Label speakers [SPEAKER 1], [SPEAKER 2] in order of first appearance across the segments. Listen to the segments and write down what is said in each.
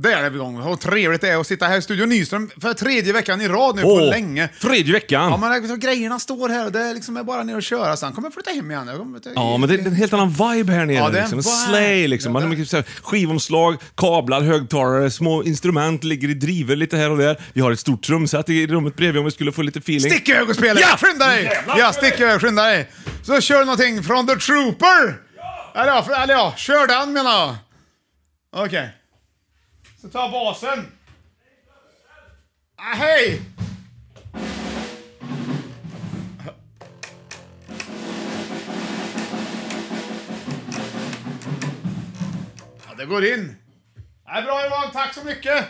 [SPEAKER 1] Där är vi igång. Och trevligt det är att sitta här i Studio Nyström för tredje veckan i rad nu på
[SPEAKER 2] Åh,
[SPEAKER 1] länge.
[SPEAKER 2] Tredje veckan!
[SPEAKER 1] Ja,
[SPEAKER 2] Ja, men,
[SPEAKER 1] men liksom, grejerna står här och det är liksom bara ner och köra. Sen kommer jag flytta hem igen. Jag kommer flytta-
[SPEAKER 2] det är en helt annan vibe här nere.
[SPEAKER 1] Ja, det är en
[SPEAKER 2] liksom. En
[SPEAKER 1] vibe.
[SPEAKER 2] slay liksom. Man
[SPEAKER 1] Ja,
[SPEAKER 2] har
[SPEAKER 1] det-
[SPEAKER 2] mycket så här, skivomslag, kablar, högtalare, små instrument ligger i driver lite här och där. Vi har ett stort trumset i rummet bredvid om vi skulle få lite feeling.
[SPEAKER 1] Stick iväg och spela!
[SPEAKER 2] Ja!
[SPEAKER 1] Skynda dig! Ja, stick iväg, skynda dig! Så kör du någonting från The Trooper! Eller ja, för- eller ja, kör den menar jag. Okej. Så ta basen. Ah, hej! Ja, det går in. Ja, bra Johan, tack så mycket!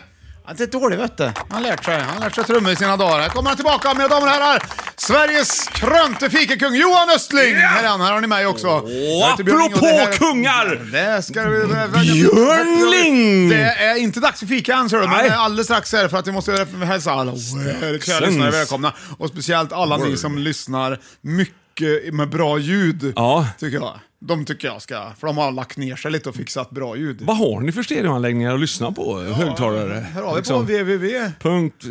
[SPEAKER 1] Han är inte dålig vet du. Han har lärt sig. Han har lärt sig trummor i sina dagar. Här kommer han tillbaka, mina damer och herrar. Sveriges krönte fikakung Johan Östling! Här är han, här har ni mig också. Jag heter Björn Ling och
[SPEAKER 2] apropå
[SPEAKER 1] det här är-
[SPEAKER 2] kungar!
[SPEAKER 1] Det ska vi...
[SPEAKER 2] Björn Ling!
[SPEAKER 1] Det är Eh, inte dags för fika än, ser du, men
[SPEAKER 2] Nej.
[SPEAKER 1] det är alldeles strax här för att vi måste göra- hälsa alla kära lyssnare välkomna. Och speciellt alla ni som lyssnar mycket med bra ljud,
[SPEAKER 2] Ja.
[SPEAKER 1] tycker jag. De tycker jag ska, för de har lagt ner sig lite och fixat bra ljud.
[SPEAKER 2] Vad har ni för stereoanläggningar att lyssna på? högtalare?
[SPEAKER 1] Hör av er på
[SPEAKER 2] liksom.
[SPEAKER 1] www.
[SPEAKER 2] Punkt.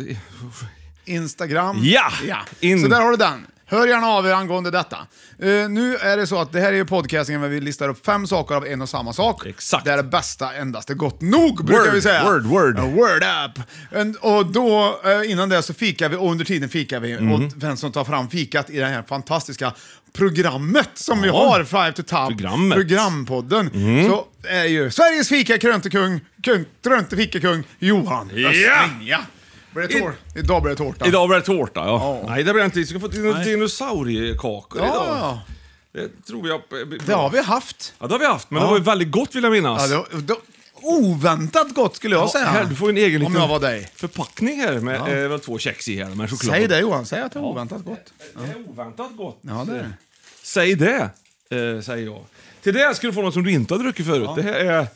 [SPEAKER 1] Instagram.
[SPEAKER 2] Ja! In.
[SPEAKER 1] Så där har du den. Hör gärna av er angående detta. Eh, nu är det så att det här är ju podcastingen där vi listar upp fem saker av en och samma sak.
[SPEAKER 2] Exakt.
[SPEAKER 1] Där det bästa endast är gott nog, brukar vi säga.
[SPEAKER 2] word, word.
[SPEAKER 1] Eh, word up. En- och då, eh, innan det så fikar vi, och under tiden fikar vi
[SPEAKER 2] Mhm.
[SPEAKER 1] åt vem som tar fram fikat i det här fantastiska programmet som vi har, Five to Top,
[SPEAKER 2] Programmet. Mhm.
[SPEAKER 1] programpodden. Så är ju Sveriges fika kröntekung, kung, krönte fikakung, Johan
[SPEAKER 2] Ja.
[SPEAKER 1] Östling. Ja. Blir det tår? Idag blir det tårta.
[SPEAKER 2] Idag blir det tårta, ja.
[SPEAKER 1] Ja.
[SPEAKER 2] Nej, det blir det inte. Vi ska få dino- dinosauriekakor
[SPEAKER 1] Ja,
[SPEAKER 2] idag.
[SPEAKER 1] ja.
[SPEAKER 2] Det tror jag...
[SPEAKER 1] Det har vi haft.
[SPEAKER 2] Ja, det har vi haft, men det var ju väldigt gott vill jag minnas.
[SPEAKER 1] Ja, det var, det, oväntat gott skulle jag
[SPEAKER 2] Ja,
[SPEAKER 1] säga.
[SPEAKER 2] Här, du får en egen
[SPEAKER 1] Om
[SPEAKER 2] liten
[SPEAKER 1] jag var dig.
[SPEAKER 2] förpackning här med eh, väl två kex i här med choklad.
[SPEAKER 1] Säg det Johan, säg att det är oväntat gott.
[SPEAKER 2] Det är oväntat gott.
[SPEAKER 1] Ja, det är det.
[SPEAKER 2] Säg det, eh, säger jag. Till det ska du få något som du inte har druckit förut. Det här är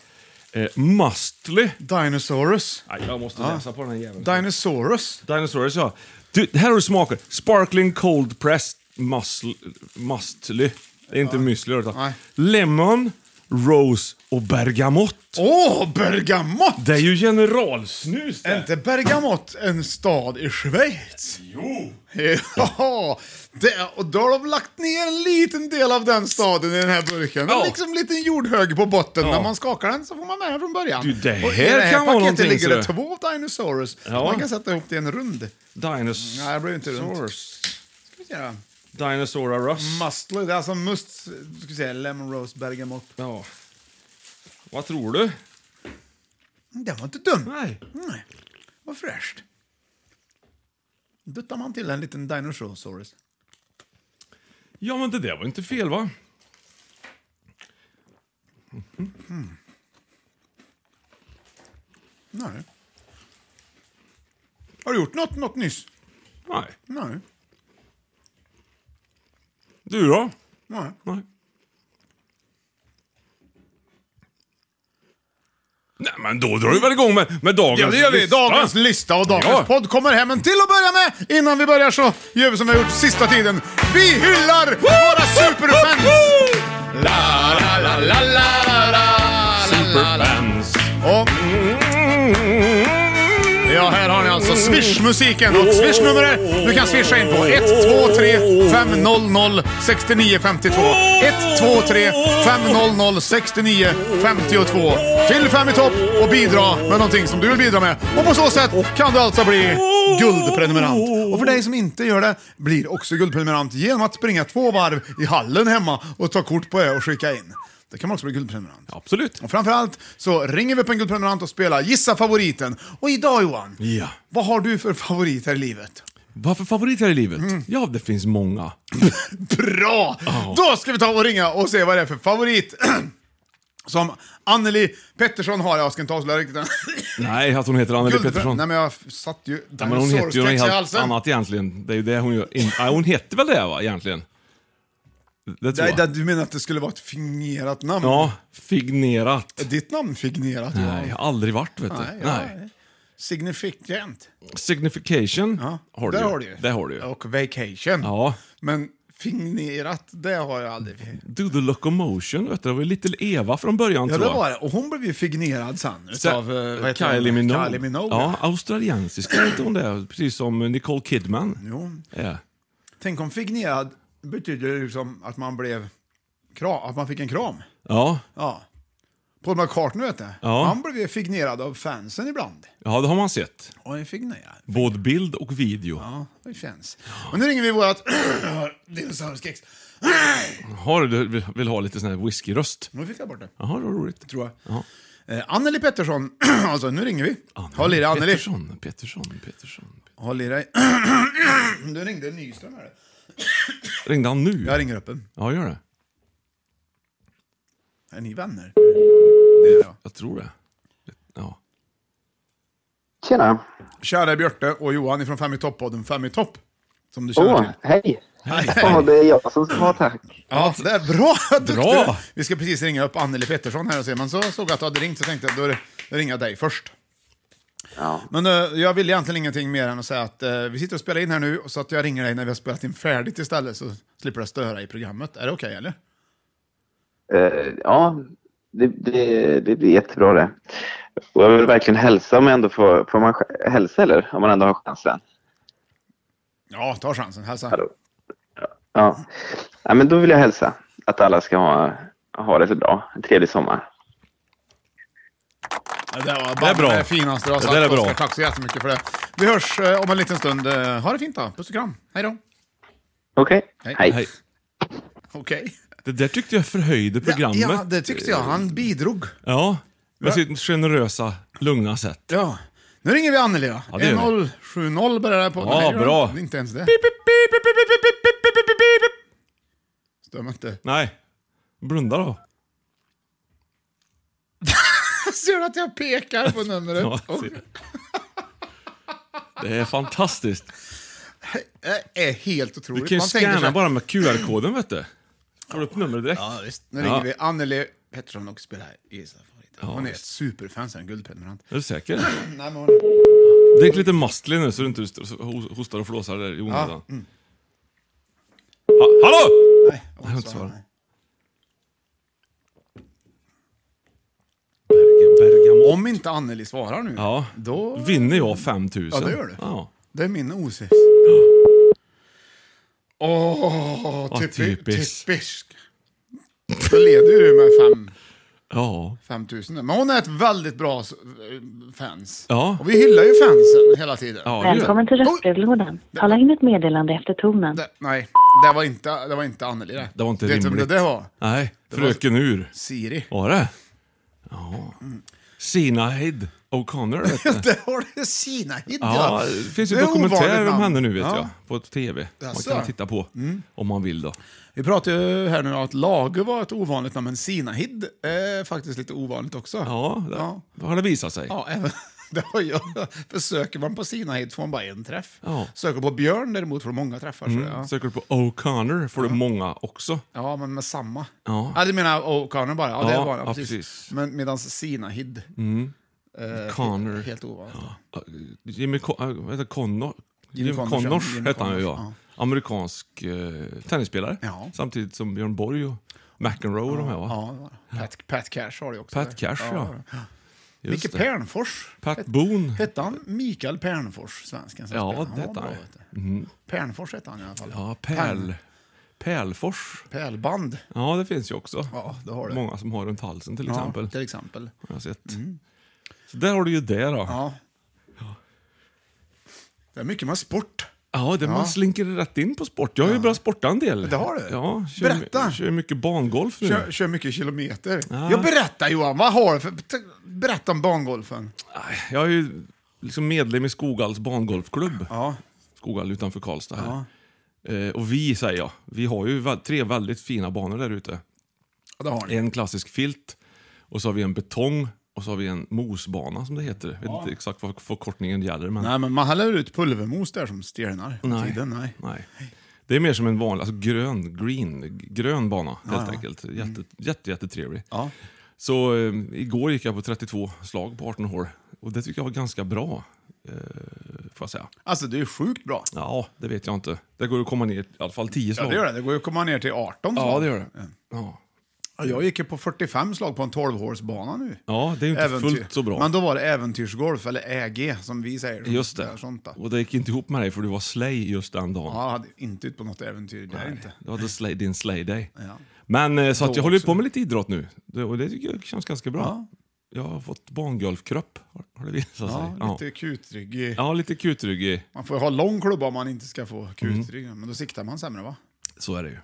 [SPEAKER 2] eh, Mustly.
[SPEAKER 1] Dinosaurus.
[SPEAKER 2] Nej, jag måste läsa på den här jäveln.
[SPEAKER 1] Dinosaurus.
[SPEAKER 2] Dinosaurus, ja. Du, här har du smaker. Sparkling Cold Pressed musl, Mustly. Det är inte müsli utan
[SPEAKER 1] Nej.
[SPEAKER 2] Lemon, Rose och Bergamott.
[SPEAKER 1] Åh, Bergamott!
[SPEAKER 2] Det är ju generalsnus
[SPEAKER 1] Är
[SPEAKER 2] det.
[SPEAKER 1] inte Bergamott en stad i Schweiz?
[SPEAKER 2] Jo!
[SPEAKER 1] Ja, det, och då har de lagt ner en liten del av den staden i den här burken.
[SPEAKER 2] Ja.
[SPEAKER 1] En liksom liten jordhög på botten.
[SPEAKER 2] Ja.
[SPEAKER 1] När man skakar den så får man med den från början.
[SPEAKER 2] Du, det
[SPEAKER 1] och i
[SPEAKER 2] här
[SPEAKER 1] det här
[SPEAKER 2] kan vara
[SPEAKER 1] paketet
[SPEAKER 2] någonting,
[SPEAKER 1] ligger det
[SPEAKER 2] ser du.
[SPEAKER 1] två Dinosaurus.
[SPEAKER 2] Ja.
[SPEAKER 1] Man kan sätta ihop det i en rund.
[SPEAKER 2] Dinosaurs.
[SPEAKER 1] Nej, det blev inte runt. Ska vi se då.
[SPEAKER 2] Dinosaurus.
[SPEAKER 1] Mustler, det är alltså must, ska vi säga, lemon rose bergamot.
[SPEAKER 2] Ja. Vad tror du?
[SPEAKER 1] Mm, Den var inte dum.
[SPEAKER 2] Nej.
[SPEAKER 1] Nej. Vad fräscht. Duttar man till en liten dinosaurus.
[SPEAKER 2] Ja, men det där var inte fel, va?
[SPEAKER 1] Nej. Har du gjort något, något nyss?
[SPEAKER 2] Nej.
[SPEAKER 1] Nej.
[SPEAKER 2] Du då?
[SPEAKER 1] Nej.
[SPEAKER 2] Nej. Nej, men då drar vi väl igång med, med dagens
[SPEAKER 1] Ja, det gör vi.
[SPEAKER 2] lista.
[SPEAKER 1] Dagens lista och dagens
[SPEAKER 2] Ja.
[SPEAKER 1] podd kommer hem. Men till att börja med, innan vi börjar så gör vi som vi har gjort sista tiden. Vi hyllar våra superfans! La, alltså swishmusiken. Och swishnumret du kan swisha in på 123 500 6952. 123 500 6952. Till Fem i topp och bidra med någonting som du vill bidra med. Och på så sätt kan du alltså bli guldprenumerant. Och för dig som inte gör det blir också guldprenumerant genom att springa två varv i hallen hemma och ta kort på det och skicka in. Det kan man också bli guldprenumerant.
[SPEAKER 2] Absolut.
[SPEAKER 1] Och framförallt så ringer vi upp en guldprenumerant och spelar Gissa favoriten. Och idag Johan,
[SPEAKER 2] Ja.
[SPEAKER 1] vad har du för favorit här i livet?
[SPEAKER 2] Vad för favorit här i livet?
[SPEAKER 1] Mm.
[SPEAKER 2] Ja, det finns många.
[SPEAKER 1] Bra! Då ska vi ta och ringa och se vad det är för favorit som Anneli Pettersson har. Jag ska inte avslöja riktigt än.
[SPEAKER 2] Nej, att hon heter Anneli
[SPEAKER 1] Guldpre-
[SPEAKER 2] Pettersson.
[SPEAKER 1] Nej men jag satt ju...
[SPEAKER 2] Nej, men hon heter ju något
[SPEAKER 1] dinosaurskräck i
[SPEAKER 2] helt
[SPEAKER 1] halsen.
[SPEAKER 2] annat egentligen. Det är ju det hon gör. In- Nej, hon hette väl det va, egentligen? Det tror
[SPEAKER 1] Nej,
[SPEAKER 2] jag.
[SPEAKER 1] det, du menar att det skulle vara ett fingerat namn?
[SPEAKER 2] Ja, fignerat.
[SPEAKER 1] Är ditt namn fignerat
[SPEAKER 2] Nej, jag
[SPEAKER 1] Johan?
[SPEAKER 2] har aldrig varit vet du.
[SPEAKER 1] Nej,
[SPEAKER 2] Nej.
[SPEAKER 1] ja. Significant.
[SPEAKER 2] Signification
[SPEAKER 1] Ja,
[SPEAKER 2] har du
[SPEAKER 1] där
[SPEAKER 2] ju.
[SPEAKER 1] har du ju.
[SPEAKER 2] Det har du ju.
[SPEAKER 1] Och vacation.
[SPEAKER 2] Ja.
[SPEAKER 1] Men fignerat, det har jag aldrig.
[SPEAKER 2] Do the locomotion, vet du. Det var ju Little Eva från början
[SPEAKER 1] Ja, det
[SPEAKER 2] tror jag.
[SPEAKER 1] var det. Och hon blev ju fignerad sen
[SPEAKER 2] Så-
[SPEAKER 1] utav eh, vad heter
[SPEAKER 2] Kylie
[SPEAKER 1] hon?
[SPEAKER 2] Minogue.
[SPEAKER 1] Kylie Minogue.
[SPEAKER 2] Ja, australiensiska hette hon det. Precis som Nicole Kidman.
[SPEAKER 1] Jo.
[SPEAKER 2] Ja.
[SPEAKER 1] Tänk om fignerad betyder liksom att man blev kram, att man fick en kram.
[SPEAKER 2] Ja.
[SPEAKER 1] Ja. Paul McCartney vet du.
[SPEAKER 2] Ja.
[SPEAKER 1] Han blev ju fignerad av fansen ibland.
[SPEAKER 2] ja, det har man sett.
[SPEAKER 1] Och en fignerad.
[SPEAKER 2] Både bild och video.
[SPEAKER 1] Ja, det känns. Och nu ringer vi vårat dinosauriekex.
[SPEAKER 2] Har du, vill ha lite sån här whiskyröst?
[SPEAKER 1] Nu fick jag bort det,
[SPEAKER 2] Jaha, det var roligt.
[SPEAKER 1] tror jag. Eh, Anneli Pettersson, alltså nu ringer vi. Håll i dig
[SPEAKER 2] Anneli
[SPEAKER 1] Anneli.
[SPEAKER 2] Pettersson, Pettersson, Pettersson.
[SPEAKER 1] Håll i dig. Du ringde Nyström här.
[SPEAKER 2] Ringde han nu?
[SPEAKER 1] Jag ringer upp en.
[SPEAKER 2] Ja, gör det.
[SPEAKER 1] Är ni vänner? Det är jag.
[SPEAKER 2] Jag tror det. Ja.
[SPEAKER 3] Tjena!
[SPEAKER 1] Kära Björte och Johan ifrån Fem i topp-podden Fem i topp. Som du känner
[SPEAKER 3] Åh,
[SPEAKER 1] till.
[SPEAKER 3] hej!
[SPEAKER 2] Hej,
[SPEAKER 3] Ja,
[SPEAKER 2] hej.
[SPEAKER 3] det är jag som ska ha tack.
[SPEAKER 1] Ja, det är bra. Duktig du är.
[SPEAKER 2] Bra.
[SPEAKER 1] Vi ska precis ringa upp Anneli Pettersson här och se, men så såg jag att du hade ringt så tänkte jag då är det- då ringer jag dig först.
[SPEAKER 3] Ja.
[SPEAKER 1] Men eh, jag vill egentligen ingenting mer än att säga att eh, vi sitter och spelar in här nu, så att jag ringer dig när vi har spelat in färdigt istället, så slipper det störa i programmet. Är det okej, eller?
[SPEAKER 3] Eh, ja, det, det, det blir jättebra det. Och jag vill verkligen hälsa om jag ändå får, får man ch- hälsa eller? Om man ändå har chansen.
[SPEAKER 1] Ja, ta chansen. Hälsa.
[SPEAKER 3] Hallå. Ja. ja, men då vill jag hälsa att alla ska ha, ha det så bra. En trevlig sommar.
[SPEAKER 1] Det där var
[SPEAKER 2] Det är bra.
[SPEAKER 1] Det finaste du har
[SPEAKER 2] Det
[SPEAKER 1] sagt,
[SPEAKER 2] där är bra.
[SPEAKER 1] Oskar. Tack så jättemycket för det. Vi hörs eh, om en liten stund. Eh, Ha det fint då. Puss och kram. Hej då.
[SPEAKER 3] Okej?
[SPEAKER 1] Hej.
[SPEAKER 2] Hej.
[SPEAKER 1] Okej.
[SPEAKER 2] Det där tyckte jag förhöjde programmet.
[SPEAKER 1] Ja, det tyckte jag. Han bidrog.
[SPEAKER 2] Ja, med sitt generösa, lugna sätt.
[SPEAKER 1] Ja. Nu ringer vi Anneli då.
[SPEAKER 2] det gör vi.
[SPEAKER 1] 1070 börjar det här på.
[SPEAKER 2] Ja,
[SPEAKER 1] Nej, det gör
[SPEAKER 2] bra.
[SPEAKER 1] det Inte ens det. Stämmer inte.
[SPEAKER 2] Nej, blunda
[SPEAKER 1] Eh,
[SPEAKER 2] då.
[SPEAKER 1] Ser du att jag pekar på numret?
[SPEAKER 2] Ja,
[SPEAKER 1] Och
[SPEAKER 2] se. Det är fantastiskt.
[SPEAKER 1] det är helt
[SPEAKER 2] Du
[SPEAKER 1] otroligt.
[SPEAKER 2] kan ju
[SPEAKER 1] Man tänker så
[SPEAKER 2] scanna
[SPEAKER 1] här,
[SPEAKER 2] bara med QR-koden vet du. Får du upp numret direkt.
[SPEAKER 1] Ja, visst. Nu
[SPEAKER 2] Ja.
[SPEAKER 1] ringer vi Anneli Pettersson och spelar Gissa favoriten. Hon är ett
[SPEAKER 2] visst.
[SPEAKER 1] superfan sen, guldprenumerant.
[SPEAKER 2] Är du säker?
[SPEAKER 1] Nej, men hon...
[SPEAKER 2] Drick lite Mastli nu så du inte ho- hostar och flåsar där i onödan.
[SPEAKER 1] mm.
[SPEAKER 2] Ha- hallå!
[SPEAKER 1] Nej, hon svarar
[SPEAKER 2] hon svarar.
[SPEAKER 1] nej.
[SPEAKER 2] Bergamo.
[SPEAKER 1] Om inte Anneli svarar nu,
[SPEAKER 2] Ja,
[SPEAKER 1] då...
[SPEAKER 2] vinner jag 5000.
[SPEAKER 1] Ja, det gör du.
[SPEAKER 2] Ja.
[SPEAKER 1] Det är min osis. Åh, oh, typisk.
[SPEAKER 2] typiskt.
[SPEAKER 1] typisk. Då leder ju du med fem
[SPEAKER 2] ja.
[SPEAKER 1] 5000. Men hon är ett väldigt bra s- fans.
[SPEAKER 2] Ja.
[SPEAKER 1] Och vi hyllar ju fansen hela tiden.
[SPEAKER 2] ja det gör jag.
[SPEAKER 4] Välkommen till röstbrevlådan. Tala in ett meddelande efter tonen.
[SPEAKER 1] Det, nej, det var inte, det var inte Anneli det.
[SPEAKER 2] Det var inte
[SPEAKER 1] Vet du vem
[SPEAKER 2] rimligt.
[SPEAKER 1] det där var?
[SPEAKER 2] Nej, Fröken Ur.
[SPEAKER 1] Siri.
[SPEAKER 2] Var det? Ja. Sinahead O'Connor vet du.
[SPEAKER 1] Där har du Sinahid
[SPEAKER 2] Ja, det finns ju
[SPEAKER 1] är ovanligt
[SPEAKER 2] dokumentärer om
[SPEAKER 1] namn.
[SPEAKER 2] henne nu vet
[SPEAKER 1] Ja.
[SPEAKER 2] jag. På tv. Man
[SPEAKER 1] Jaså? Mm.
[SPEAKER 2] kan titta på om man vill då.
[SPEAKER 1] Vi pratar ju här nu om att Lager var ett ovanligt namn, men Sinahid är faktiskt lite ovanligt också.
[SPEAKER 2] Ja, det,
[SPEAKER 1] Ja.
[SPEAKER 2] har det visat sig.
[SPEAKER 1] Ja, även, det har jag. För söker man på Sinahid får man bara en träff.
[SPEAKER 2] Ja. Mm,
[SPEAKER 1] Söker på Björn däremot får du många träffar. Så, ja.
[SPEAKER 2] Söker du på O'Connor får du många också.
[SPEAKER 1] Ja, men med samma.
[SPEAKER 2] Ja.
[SPEAKER 1] du menar O'Connor bara? Ja, det
[SPEAKER 2] Ja,
[SPEAKER 1] var det.
[SPEAKER 2] ja,
[SPEAKER 1] precis.
[SPEAKER 2] precis. Mm.
[SPEAKER 1] Men medan Sinahid, eh,
[SPEAKER 2] Connor.
[SPEAKER 1] helt ovanligt.
[SPEAKER 2] Jimmy, Co- äh, vad heter Connor? Jimmy
[SPEAKER 1] Connors,
[SPEAKER 2] Connors,
[SPEAKER 1] ja. Jimmy
[SPEAKER 2] heter han ju,
[SPEAKER 1] Connors,
[SPEAKER 2] ja. Amerikansk eh, tennisspelare.
[SPEAKER 1] Ja.
[SPEAKER 2] Samtidigt som Björn Borg och McEnroe och de här va?
[SPEAKER 1] Ja, det var det. Pat, Pat Cash har det också.
[SPEAKER 2] Pat Cash, ja. Just
[SPEAKER 1] Micke
[SPEAKER 2] det.
[SPEAKER 1] Pernfors.
[SPEAKER 2] Pat
[SPEAKER 1] Het-
[SPEAKER 2] Boon.
[SPEAKER 1] Hette han Mikael Pernfors, svensken? som
[SPEAKER 2] Ja,
[SPEAKER 1] spelade?
[SPEAKER 2] det
[SPEAKER 1] var
[SPEAKER 2] hette
[SPEAKER 1] bra,
[SPEAKER 2] han. Mm.
[SPEAKER 1] vet du. Pernfors hette han i alla fall.
[SPEAKER 2] Ja, pärl...
[SPEAKER 1] Pärn-
[SPEAKER 2] Pärlfors.
[SPEAKER 1] Pärlband.
[SPEAKER 2] Ja, det finns ju också.
[SPEAKER 1] Ja, det har det.
[SPEAKER 2] Många som har runt halsen till exempel.
[SPEAKER 1] Ja, till exempel.
[SPEAKER 2] Jag har sett. Så där har du ju det då. Ja,
[SPEAKER 1] Ja. Det är mycket med sport.
[SPEAKER 2] det man slinker rätt in på sport. Jag har ju börjat sporta en del.
[SPEAKER 1] Det har du?
[SPEAKER 2] Ja, kör,
[SPEAKER 1] Berätta.
[SPEAKER 2] Kör mycket bangolf nu.
[SPEAKER 1] Kör, kör mycket kilometer. Jag berättar Johan, vad har du för... t- Berätta om bangolfen.
[SPEAKER 2] Nej, Jag är ju liksom medlem i Skogalls bangolfklubb.
[SPEAKER 1] Ja.
[SPEAKER 2] Skogal utanför Karlstad här. Eh, och vi, säger jag, vi har ju vä- tre väldigt fina banor där ute.
[SPEAKER 1] Ja, det har ni.
[SPEAKER 2] En klassisk filt, och så har vi en betong, och så har vi en mosbana som det heter. Jag vet inte exakt vad förkortningen gäller. Men...
[SPEAKER 1] Nej, men man häller ut pulvermos där som stelnar. med Tiden, nej.
[SPEAKER 2] Nej. Det är mer som en vanlig, alltså grön, green, grön bana helt enkelt. Jätte, jätte, jättetrevlig.
[SPEAKER 1] Mm. Ja.
[SPEAKER 2] Så eh, igår gick jag på 32 slag på 18 hål och det tycker jag var ganska bra. Eh, får jag säga.
[SPEAKER 1] Alltså det är sjukt bra.
[SPEAKER 2] Ja, det vet jag inte. Det går att komma ner i alla fall 10
[SPEAKER 1] Ja,
[SPEAKER 2] slag.
[SPEAKER 1] det gör det. Det går ju att komma ner till 18 slag.
[SPEAKER 2] Ja, det gör det. Ja.
[SPEAKER 1] Ja, Jag gick ju på 45 slag på en 12-hålsbana nu.
[SPEAKER 2] Ja, det är ju inte fullt så bra.
[SPEAKER 1] Men då var det äventyrsgolf, eller äg som vi säger.
[SPEAKER 2] Just
[SPEAKER 1] Där,
[SPEAKER 2] det.
[SPEAKER 1] sånt där.
[SPEAKER 2] Och det gick inte ihop med dig för du var slay just den dagen.
[SPEAKER 1] Ja, jag hade inte ut på något äventyr där inte.
[SPEAKER 2] Du hade slay, din slay day.
[SPEAKER 1] Ja.
[SPEAKER 2] Men eh, så att
[SPEAKER 1] Då
[SPEAKER 2] jag håller ju
[SPEAKER 1] också.
[SPEAKER 2] på med lite idrott nu. Det, och det tycker jag känns ganska bra. Jag har fått bangolfkropp, har- har det visat sig.
[SPEAKER 1] Ja, lite kutrygg.
[SPEAKER 2] ja, lite kutryggig.
[SPEAKER 1] Man får ju ha lång klubba om man inte ska få kutrygg.
[SPEAKER 2] Mm.
[SPEAKER 1] Men då siktar man sämre va?
[SPEAKER 2] Så är det ju.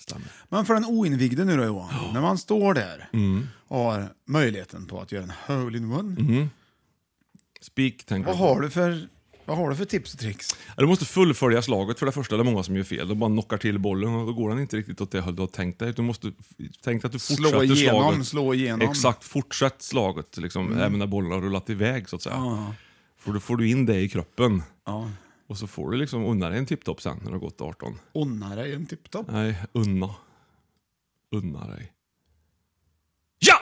[SPEAKER 2] Stämmer.
[SPEAKER 1] Men för den oinvigde nu då Johan, när man står där
[SPEAKER 2] Mm.
[SPEAKER 1] och har möjligheten på att göra en hole-in-one.
[SPEAKER 2] Spik, tänker
[SPEAKER 1] Vad
[SPEAKER 2] jag.
[SPEAKER 1] har du för... Vad har du för tips och tricks?
[SPEAKER 2] Ja, Du måste fullfölja slaget för det första. Det är många som gör fel. De bara knockar till bollen och då går den inte riktigt åt det håll du har tänkt dig. Du måste f- tänka att du
[SPEAKER 1] Slå
[SPEAKER 2] fortsätter
[SPEAKER 1] igenom,
[SPEAKER 2] slaget.
[SPEAKER 1] slå igenom. Mm.
[SPEAKER 2] Exakt, fortsätt slaget. Liksom, Även när bollen har rullat iväg så att säga. För då får du in det i kroppen. Och så får du liksom unna dig en tipptopp sen när du har gått 18.
[SPEAKER 1] Unna dig en tipptopp.
[SPEAKER 2] Nej, unna. Unna dig. Ja!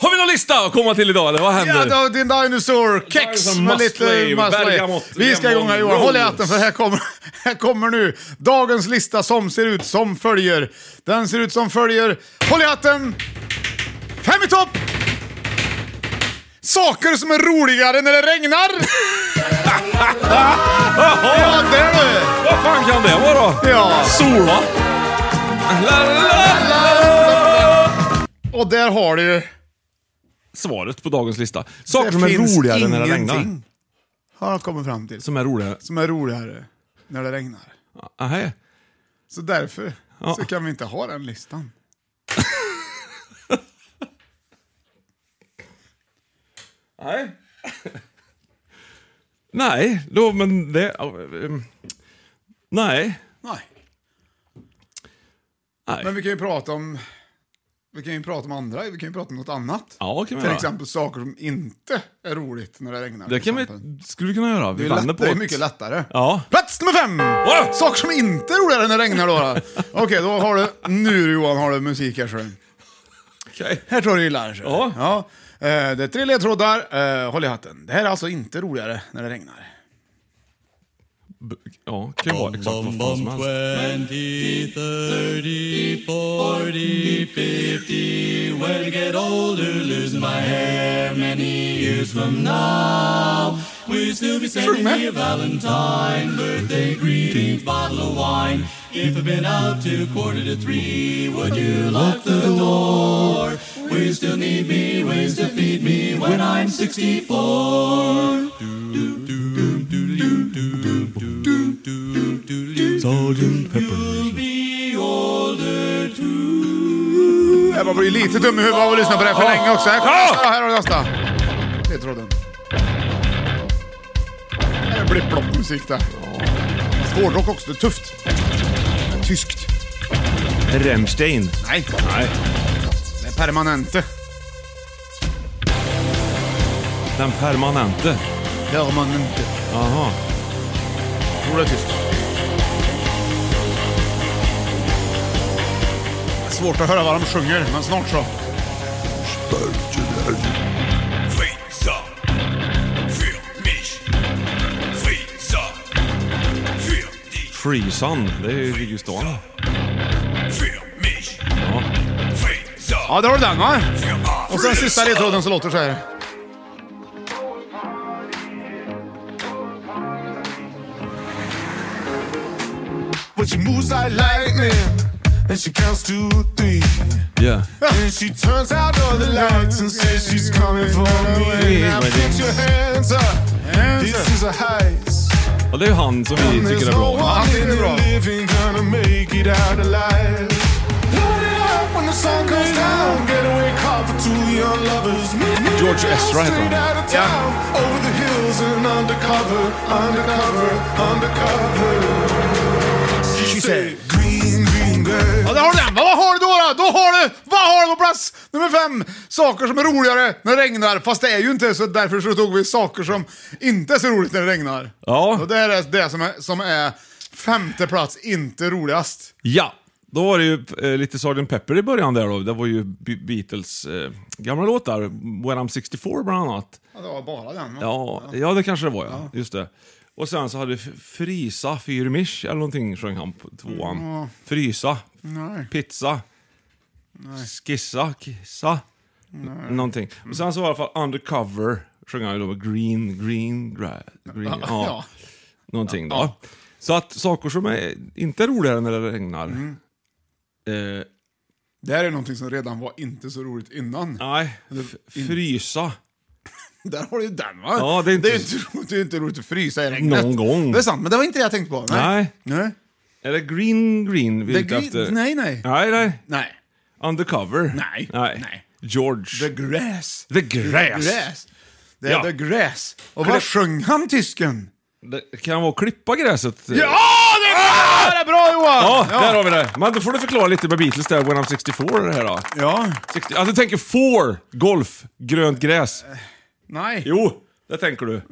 [SPEAKER 2] Har vi någon lista att komma till idag eller vad händer?
[SPEAKER 1] Ja, då, din dinosaur kex
[SPEAKER 2] Dinosaur
[SPEAKER 1] med
[SPEAKER 2] must
[SPEAKER 1] lite
[SPEAKER 2] leave,
[SPEAKER 1] muscle.
[SPEAKER 2] bergamott,
[SPEAKER 1] Vi ska igång här
[SPEAKER 2] lemon
[SPEAKER 1] Johan. Håll i
[SPEAKER 2] rolls.
[SPEAKER 1] hatten för här kommer, här kommer nu dagens lista som ser ut som följer. Den ser ut som följer. Håll i hatten! Fem i topp! Saker som är roligare när det regnar. ja, där du!
[SPEAKER 2] Vad fan kan det vara då?
[SPEAKER 1] Ja.
[SPEAKER 2] Sola? La, la, la.
[SPEAKER 1] Och där har du ju...
[SPEAKER 2] Svaret på dagens lista. Saker som är
[SPEAKER 1] finns
[SPEAKER 2] roligare när det
[SPEAKER 1] ingenting,
[SPEAKER 2] regnar.
[SPEAKER 1] Har jag kommit fram till.
[SPEAKER 2] Som är roligare?
[SPEAKER 1] Som är roligare när det regnar.
[SPEAKER 2] Nähä.
[SPEAKER 1] Så därför
[SPEAKER 2] Ja.
[SPEAKER 1] så kan vi inte ha den listan.
[SPEAKER 2] Nej. Nej, då men det... ja, ehm, Nej.
[SPEAKER 1] Nej.
[SPEAKER 2] Nej.
[SPEAKER 1] Men vi kan ju prata om... Vi kan ju prata om andra, vi kan ju prata om något annat.
[SPEAKER 2] Ja, kan vi
[SPEAKER 1] Till
[SPEAKER 2] göra.
[SPEAKER 1] exempel saker som inte är roligt när det regnar.
[SPEAKER 2] Det
[SPEAKER 1] till
[SPEAKER 2] kan vi,
[SPEAKER 1] exempel.
[SPEAKER 2] skulle vi kunna göra.
[SPEAKER 1] det
[SPEAKER 2] Vi
[SPEAKER 1] är, lätt,
[SPEAKER 2] vänder på
[SPEAKER 1] det är
[SPEAKER 2] ett-
[SPEAKER 1] mycket lättare.
[SPEAKER 2] Ja.
[SPEAKER 1] Plats nummer fem!
[SPEAKER 2] Vadå?
[SPEAKER 1] Saker som inte är roligare när det regnar då. då. Okej, då har du... Nu Johan har du musik här själv.
[SPEAKER 2] Okej.
[SPEAKER 1] Här tror jag du gillar. så.
[SPEAKER 2] Ja.
[SPEAKER 1] Eh, Det är tre ledtrådar. Eh, Håll i hatten. Det här är alltså inte roligare när det regnar.
[SPEAKER 2] B- Ja, kan ju vara exakt vad fan som helst.
[SPEAKER 5] 20, 30, 40, 50. When I get older, losing my hair many years from now. We'll still be
[SPEAKER 1] Sjung
[SPEAKER 5] sending you
[SPEAKER 1] med!
[SPEAKER 5] Valentine, birthday greetings, bottle of wine. If I've been out till quarter to three, would you lock the door? Will you still need me? Ways to feed me when I'm 64? Salt and You'll be older too.
[SPEAKER 1] Jag bara blir lite dum i huvudet av att lyssna på det här för länge också. Här, kommer
[SPEAKER 2] Ja.
[SPEAKER 1] nästa, här har du nästa. Ledtråden. Det blir ploppmusik där. Hårdrock också, det är tufft. Tyskt.
[SPEAKER 2] Remstein.
[SPEAKER 1] Nej. Nej. Det är permanente.
[SPEAKER 2] Den permanente.
[SPEAKER 1] Permanente.
[SPEAKER 2] Aha.
[SPEAKER 1] Tror det är tyskt. Det är svårt att höra vad de sjunger, men snart så.
[SPEAKER 5] Freezer. Für mich. Freezer. Für dich.
[SPEAKER 2] Freezan. Det är ju ligger ju stan.
[SPEAKER 5] Für mich.
[SPEAKER 2] Ja.
[SPEAKER 5] Freezer.
[SPEAKER 1] Ja, där har du den va?
[SPEAKER 5] Für
[SPEAKER 1] Och sen sista
[SPEAKER 5] Freezer.
[SPEAKER 1] ledtråden så låter det så här.
[SPEAKER 5] But she moves like lightning, and she counts to three.
[SPEAKER 2] Yeah.
[SPEAKER 5] And she turns out all the lights and says she's coming for me. Now
[SPEAKER 2] my
[SPEAKER 5] put your hands up. This is a heist.
[SPEAKER 2] Och det är ju han som vi
[SPEAKER 5] There's
[SPEAKER 2] tycker är
[SPEAKER 5] no
[SPEAKER 2] bra.
[SPEAKER 5] one
[SPEAKER 1] Han
[SPEAKER 5] in
[SPEAKER 1] är
[SPEAKER 5] the
[SPEAKER 1] bra.
[SPEAKER 5] living gonna make it out alive. Load it up when the sun goes down. Getaway car for two young lovers. Meet me
[SPEAKER 2] George
[SPEAKER 5] down
[SPEAKER 2] Ezra heter
[SPEAKER 5] straight
[SPEAKER 2] han.
[SPEAKER 5] out of town. Over the hills and undercover, undercover, undercover. She said, green, green girl.
[SPEAKER 1] Ja, där har du den. Vad har du då? Då, då har du, vad har du på plats nummer fem? Saker som är roligare när det regnar. Fast det är ju inte så därför så tog vi saker som inte är så roligt när det regnar.
[SPEAKER 2] Ja.
[SPEAKER 1] Och det är det som är, som är femte plats, inte roligast.
[SPEAKER 2] Ja, då var det ju eh, lite Sgt. Pepper i början där då. Det var ju Be- Beatles eh, gamla låtar. When I'm 64 bland annat.
[SPEAKER 1] Ja, det var bara den. va?
[SPEAKER 2] Ja, ja det kanske det var ja. Just det. Och sen så hade F- Frisa Fyrmisch eller någonting sjöng han på tvåan. Frysa. Pizza. Skissa. Kissa. Nej. Någonting. Och sen så var det i alla fall Undercover. Sjöng han ju då med Green, Green, gra, green. Ja.
[SPEAKER 1] Ja.
[SPEAKER 2] Någonting då. Så att saker som är inte är roligare när det regnar. Eh,
[SPEAKER 1] Det här är någonting som redan var inte så roligt innan.
[SPEAKER 2] nej, f- frysa.
[SPEAKER 1] Där har du ju den va?
[SPEAKER 2] Ja, det är inte-
[SPEAKER 1] det är ju inte, roligt- det är inte roligt att frysa i regnet.
[SPEAKER 2] Någon gång.
[SPEAKER 1] Det är sant, men det var inte det jag tänkte på.
[SPEAKER 2] Nej.
[SPEAKER 1] Nej,
[SPEAKER 2] Är det green, green vi är
[SPEAKER 1] The
[SPEAKER 2] ute
[SPEAKER 1] green-
[SPEAKER 2] efter?
[SPEAKER 1] nej, nej.
[SPEAKER 2] Nej, nej.
[SPEAKER 1] nej.
[SPEAKER 2] Undercover?
[SPEAKER 1] Nej.
[SPEAKER 2] Nej.
[SPEAKER 1] Nej.
[SPEAKER 2] George.
[SPEAKER 1] The grass.
[SPEAKER 2] The Grass.
[SPEAKER 1] Det är
[SPEAKER 2] Ja.
[SPEAKER 1] the grass. Och
[SPEAKER 2] Klä-
[SPEAKER 1] vad sjöng han tysken?
[SPEAKER 2] Det kan vara att klippa gräset. Ja!
[SPEAKER 1] det är, det är bra Johan!
[SPEAKER 2] Ja,
[SPEAKER 1] Ah! ja.
[SPEAKER 2] där har vi det. Men då får du förklara lite med Beatles där, When I'm 64 det här då.
[SPEAKER 1] Ja.
[SPEAKER 2] 60, ja, du tänker får, golf, grönt gräs.
[SPEAKER 1] Nej.
[SPEAKER 2] Jo, det tänker du.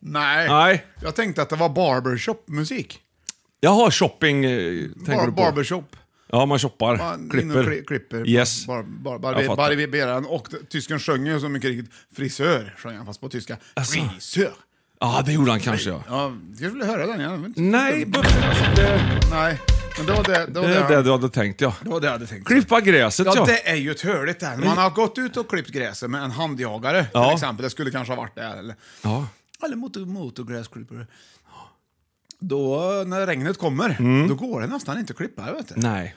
[SPEAKER 1] Nej.
[SPEAKER 2] Nej.
[SPEAKER 1] Jag tänkte att det var barbershop-musik.
[SPEAKER 2] Jaha, shopping eh, tänker
[SPEAKER 1] Bar-
[SPEAKER 2] du på.
[SPEAKER 1] barbershop.
[SPEAKER 2] Ja, man shoppar,
[SPEAKER 1] Ja, in och
[SPEAKER 2] klipper.
[SPEAKER 1] kli- klipper.
[SPEAKER 2] Yes.
[SPEAKER 1] Bar, bar,
[SPEAKER 2] Jag
[SPEAKER 1] bar,
[SPEAKER 2] fattar.
[SPEAKER 1] barberaren. Och t- tysken sjöng ju så mycket riktigt frisör, sjöng han fast på tyska.
[SPEAKER 2] Alltså.
[SPEAKER 1] Frisör.
[SPEAKER 2] Ja, det gjorde han kanske ja.
[SPEAKER 1] Ja, jag ville höra den. Jag vet inte.
[SPEAKER 2] Nej, buffé, det,
[SPEAKER 1] Nej, men det var det, det, var
[SPEAKER 2] det
[SPEAKER 1] det,
[SPEAKER 2] är det du hade tänkt ja.
[SPEAKER 1] det var det jag hade tänkt.
[SPEAKER 2] Klippa gräset
[SPEAKER 1] Ja,
[SPEAKER 2] ja.
[SPEAKER 1] det är ju ett hörligt där. Man har gått ut och klippt gräset med en handjagare till
[SPEAKER 2] Ja.
[SPEAKER 1] exempel. Det skulle kanske ha varit det. Eller,
[SPEAKER 2] Ja.
[SPEAKER 1] eller motor, motorgräsklippare. Då, när regnet kommer,
[SPEAKER 2] Mm.
[SPEAKER 1] då går det nästan inte att klippa. Vet du.
[SPEAKER 2] Nej.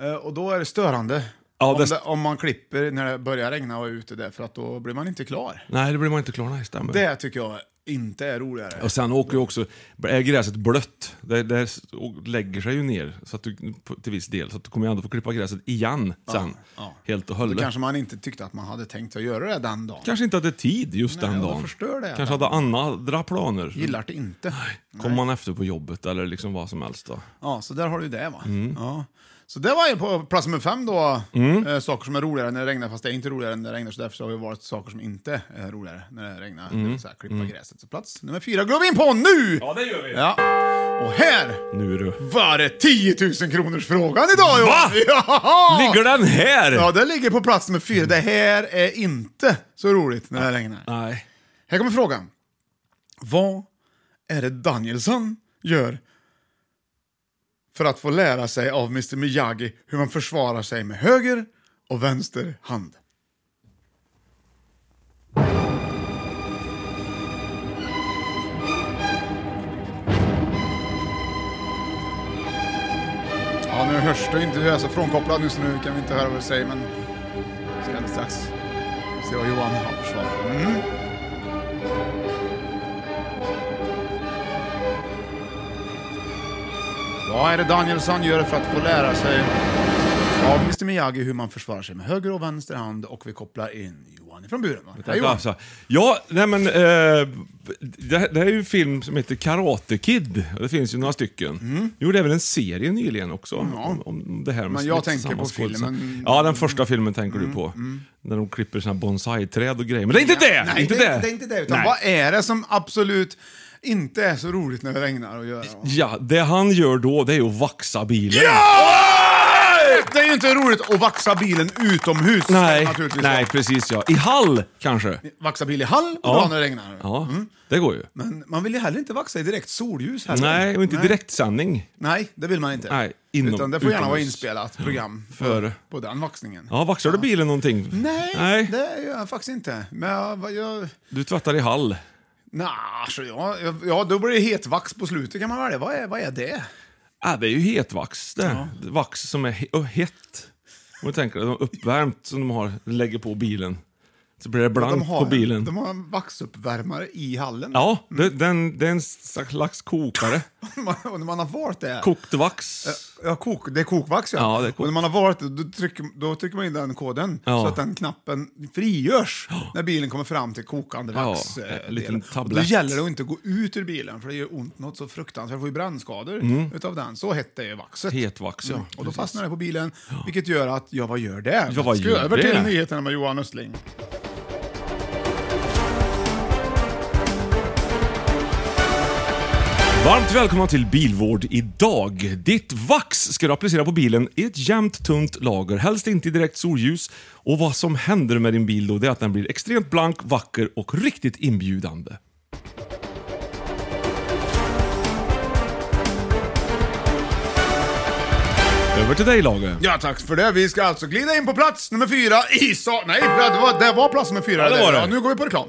[SPEAKER 1] Eh, Och då är det störande.
[SPEAKER 2] Ja,
[SPEAKER 1] om,
[SPEAKER 2] det-
[SPEAKER 1] det, om man klipper när det börjar regna och är ute där, för att då blir man inte klar.
[SPEAKER 2] Nej, det blir man inte klar. Nej, stämmer.
[SPEAKER 1] Det tycker jag inte är roligare.
[SPEAKER 2] Och sen åker ju också, är gräset blött, det, det s- och lägger sig ju ner så att du, på, till viss del. Så att du kommer ju ändå få klippa gräset igen sen.
[SPEAKER 1] ja.
[SPEAKER 2] Helt och
[SPEAKER 1] Då
[SPEAKER 2] hållet. Kanske,
[SPEAKER 1] kanske man inte tyckte att man hade tänkt att göra det den dagen.
[SPEAKER 2] inte hade tid just den
[SPEAKER 1] och
[SPEAKER 2] dagen.
[SPEAKER 1] förstör det.
[SPEAKER 2] Kanske hade andra planer.
[SPEAKER 1] Gillar det inte.
[SPEAKER 2] Kommer man efter på jobbet eller liksom vad som helst då.
[SPEAKER 1] Ja, så där har du det va.
[SPEAKER 2] Mm.
[SPEAKER 1] Ja. Så det var ju på plats nummer fem då, eh, saker som är roligare när det regnar, fast det är inte roligare när det regnar, så därför så har det varit saker som inte är roligare när det regnar. Det vill säga klippa gräset. Så plats nummer fyra går vi in på nu! Ja,
[SPEAKER 2] Mm. det gör vi.
[SPEAKER 1] Och här
[SPEAKER 2] Nu är du.
[SPEAKER 1] var det 10 000 kronors frågan idag Johan!
[SPEAKER 2] Va?
[SPEAKER 1] Ja!
[SPEAKER 2] Ligger den här?
[SPEAKER 1] Ja, det ligger på plats nummer fyra. Det här är inte så roligt när det regnar.
[SPEAKER 2] Nej.
[SPEAKER 1] Här kommer frågan. Vad är det Danielsson gör för att få lära sig av Mr Miyagi hur man försvarar sig med höger och vänster hand? Ja, nu hörs du inte. Du är så frånkopplad just nu. Kan vi inte höra vad du säger, men... Ska alldeles strax se vad Johan har för svar. Mm. Vad är det Danielsson gör för att få lära sig av Mr Miyagi hur man försvarar sig med höger och vänster hand och vi kopplar in Johan från buren. Va? Hej, Johan.
[SPEAKER 2] Alltså, ja, nej men... Eh, det, det här är ju en film som heter Karate Kid. Det finns ju några stycken. Mm. Jo, det är väl en serie nyligen också. Om, om det här med
[SPEAKER 1] Men jag
[SPEAKER 2] smitt-
[SPEAKER 1] tänker på
[SPEAKER 2] sammanskådelse.
[SPEAKER 1] filmen. Mm.
[SPEAKER 2] Ja, den första filmen tänker du på. När de klipper sina bonsai-träd och grejer. Men det är inte det!
[SPEAKER 1] Nej,
[SPEAKER 2] inte
[SPEAKER 1] det,
[SPEAKER 2] det.
[SPEAKER 1] det är inte det. Utan
[SPEAKER 2] Nej.
[SPEAKER 1] vad är det som absolut inte är så roligt när det regnar att göra?
[SPEAKER 2] Ja, det han gör då, det är ju att vaxa bilen.
[SPEAKER 1] Det är ju inte roligt att vaxa bilen utomhus.
[SPEAKER 2] Nej,
[SPEAKER 1] naturligtvis.
[SPEAKER 2] nej, precis ja. I hall, kanske.
[SPEAKER 1] Vaxa bil i hall på dagen när det regnar. Mm.
[SPEAKER 2] Ja, det går ju.
[SPEAKER 1] Men man vill ju heller inte vaxa i direkt solljus heller.
[SPEAKER 2] Nej, och inte
[SPEAKER 1] Nej.
[SPEAKER 2] direktsändning.
[SPEAKER 1] Nej, det vill man inte.
[SPEAKER 2] Nej, inom-
[SPEAKER 1] Utan det får gärna vara
[SPEAKER 2] utomhus.
[SPEAKER 1] inspelat program
[SPEAKER 2] Före.
[SPEAKER 1] på den vaxningen.
[SPEAKER 2] Ja, vaxar du bilen någonting?
[SPEAKER 1] Nej,
[SPEAKER 2] nej.
[SPEAKER 1] det gör jag faktiskt inte. Men jag... jag
[SPEAKER 2] Du tvättar i hall.
[SPEAKER 1] nej, så jag, jag, ja, då blir det hetvax på slutet kan man välja. Vad är, vad är det?
[SPEAKER 2] Ah, det är ju hetvax det. Vax som är he- och hett. Om du tänker dig, de uppvärmt som de har, lägger på bilen. Så blir det blankt
[SPEAKER 1] De har,
[SPEAKER 2] på bilen.
[SPEAKER 1] de har Mm. en vaxuppvärmare i hallen.
[SPEAKER 2] Ja, det, den, det är en slags kokare.
[SPEAKER 1] och när man har valt det...
[SPEAKER 2] Kokt vax.
[SPEAKER 1] Eh, Ja, kok, det är kokvax ja.
[SPEAKER 2] Ja, det är kok-
[SPEAKER 1] Och när man har valt det, då trycker, då trycker man in den koden
[SPEAKER 2] Ja.
[SPEAKER 1] så att den knappen frigörs när bilen kommer fram till kokande
[SPEAKER 2] Ja,
[SPEAKER 1] vax. eh,
[SPEAKER 2] en liten
[SPEAKER 1] delen.
[SPEAKER 2] tablett.
[SPEAKER 1] Då gäller det att inte gå ut ur bilen för det gör ont något så fruktansvärt. Jag får ju brännskador utav den. Så hette ju vaxet.
[SPEAKER 2] Hetvax, Mm. ja.
[SPEAKER 1] Mm. Och då
[SPEAKER 2] Precis.
[SPEAKER 1] fastnar det på bilen, vilket gör att, ja vad gör det?
[SPEAKER 2] Ja, vad
[SPEAKER 1] Ska
[SPEAKER 2] gör
[SPEAKER 1] över
[SPEAKER 2] det?
[SPEAKER 1] till nyheterna med Johan Östling.
[SPEAKER 2] Varmt välkomna till Bilvård idag. Ditt vax ska du applicera på bilen i ett jämnt tunt lager, helst inte i direkt solljus. Och vad som händer med din bil då, det är att den blir extremt blank, vacker och riktigt inbjudande. Över till dig Lager.
[SPEAKER 1] Ja, tack för det. Vi ska alltså glida in på plats nummer fyra i sa... Nej, det var, det var plats nummer fyra.
[SPEAKER 2] Ja, det var det.
[SPEAKER 1] nu går vi på reklam.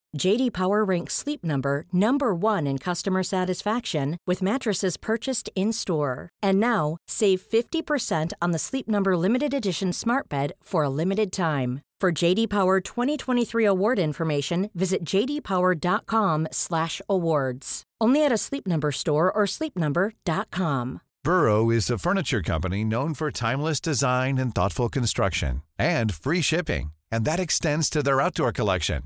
[SPEAKER 6] JD Power ranks Sleep Number number 1 in customer satisfaction with mattresses purchased in-store. And now, save 50% on the Sleep Number limited edition Smart Bed for a limited time. For JD Power 2023 award information, visit jdpower.com/awards. Only at a Sleep Number store or sleepnumber.com.
[SPEAKER 7] Burrow is a furniture company known for timeless design and thoughtful construction and free shipping, and that extends to their outdoor collection.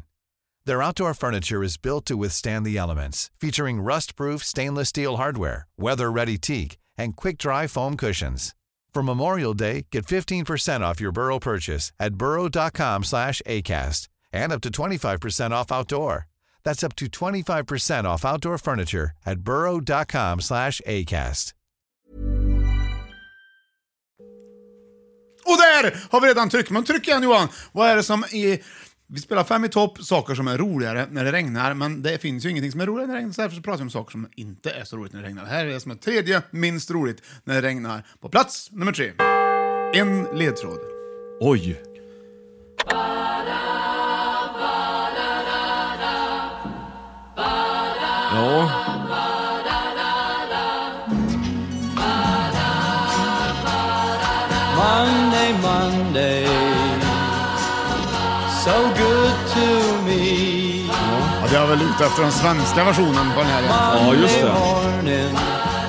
[SPEAKER 7] Their outdoor furniture is built to withstand the elements, featuring rust-proof stainless steel hardware, weather-ready teak, and quick-dry foam cushions. For Memorial Day, get 15% off your Burrow purchase at burrow.com/acast and up to 25% off outdoor. That's up to 25% off outdoor furniture at burrow.com/acast.
[SPEAKER 1] Och där har vi redan tryckt. Men tryck igen Johan. Vad är det som är... Vi spelar fem i topp, saker som är roligare när det regnar, men det finns ju ingenting som är roligare när det regnar, så därför så pratar vi om saker som inte är så roligt när det regnar. Det här är det som är tredje minst roligt när det regnar. På plats nummer tre. En ledtråd.
[SPEAKER 2] Oj. Ja.
[SPEAKER 5] Monday, Monday, so good to me.
[SPEAKER 1] Ja, det har väl ute efter den svenska versionen på den här. ja.
[SPEAKER 2] Ja, just det.
[SPEAKER 5] Morning,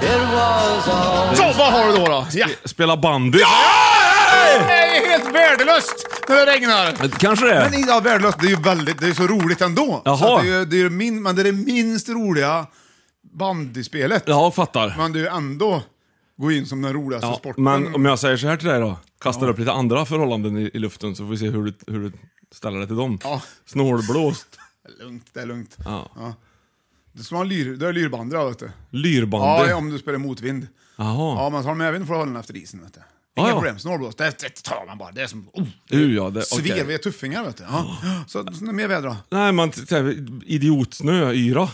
[SPEAKER 5] it was all
[SPEAKER 1] Så, vad har du då? då? Ja.
[SPEAKER 2] Eh, Spela bandy.
[SPEAKER 1] Det är helt värdelöst när det regnar!
[SPEAKER 2] Eh, Kanske det.
[SPEAKER 1] Men ja, värdelöst, det är ju väldigt, det är så roligt ändå.
[SPEAKER 2] Jaha.
[SPEAKER 1] Så att det är, ju- det är ju min, men det är det minst roliga bandyspelet.
[SPEAKER 2] Ja, fattar.
[SPEAKER 1] Men du ändå gå in som den roligaste
[SPEAKER 2] Ja,
[SPEAKER 1] sporten.
[SPEAKER 2] men om jag säger så här till dig då. Kastar upp lite andra förhållanden i, i luften så får vi se hur du, hur du ställer dig till dem.
[SPEAKER 1] Ja.
[SPEAKER 2] Snålblåst,
[SPEAKER 1] Det är lugnt, det är lugnt.
[SPEAKER 2] Ja.
[SPEAKER 1] Du ska ha en lyr, du har lyrband idag vet du.
[SPEAKER 2] lyrbandy.
[SPEAKER 1] Ja, om du spelar motvind.
[SPEAKER 2] Jaha.
[SPEAKER 1] Ja, men tar de även för att hålla den efter isen vet du.
[SPEAKER 2] Ja,
[SPEAKER 1] Inga
[SPEAKER 2] ja.
[SPEAKER 1] problem, snålblåst. Det, det tar man bara. Det är som... Oh,
[SPEAKER 2] Uh, ja, det, okej.
[SPEAKER 1] Svev är tuffingar vet du. Ja. Så, så mer väder då.
[SPEAKER 2] Nej, man t- så här, idiotsnö, yra.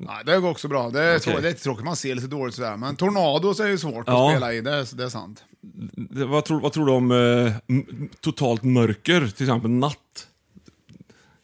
[SPEAKER 1] Ja, det går också bra. Det är,
[SPEAKER 2] Okej.
[SPEAKER 1] trå- det är tråkigt, man ser lite dåligt sådär. Men tornados är ju svårt
[SPEAKER 2] Ja.
[SPEAKER 1] att spela i, det är, det är sant.
[SPEAKER 2] Det, vad, tror, vad tror du om eh, m- totalt mörker, till exempel natt?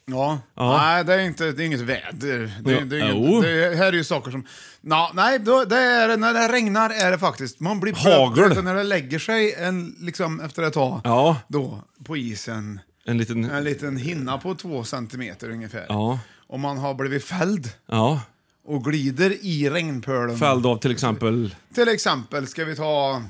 [SPEAKER 1] Ja.
[SPEAKER 2] Ja.
[SPEAKER 1] Nej, det är, inte, det är inget väder. Det,
[SPEAKER 2] Ja.
[SPEAKER 1] det, är
[SPEAKER 2] Jo.
[SPEAKER 1] inget, det är- här är ju saker som... Nå, nej, då, det är, när det regnar är det faktiskt... Man blir
[SPEAKER 2] Hagel.
[SPEAKER 1] blöt, utan när det lägger sig en, liksom, efter ett tag
[SPEAKER 2] Ja.
[SPEAKER 1] då, på isen.
[SPEAKER 2] En liten...
[SPEAKER 1] En liten hinna på två centimeter ungefär.
[SPEAKER 2] Ja.
[SPEAKER 1] Om man har blivit fälld
[SPEAKER 2] Ja.
[SPEAKER 1] och glider i regnpölen.
[SPEAKER 2] Fälld av till exempel...
[SPEAKER 1] Till exempel ska vi ta...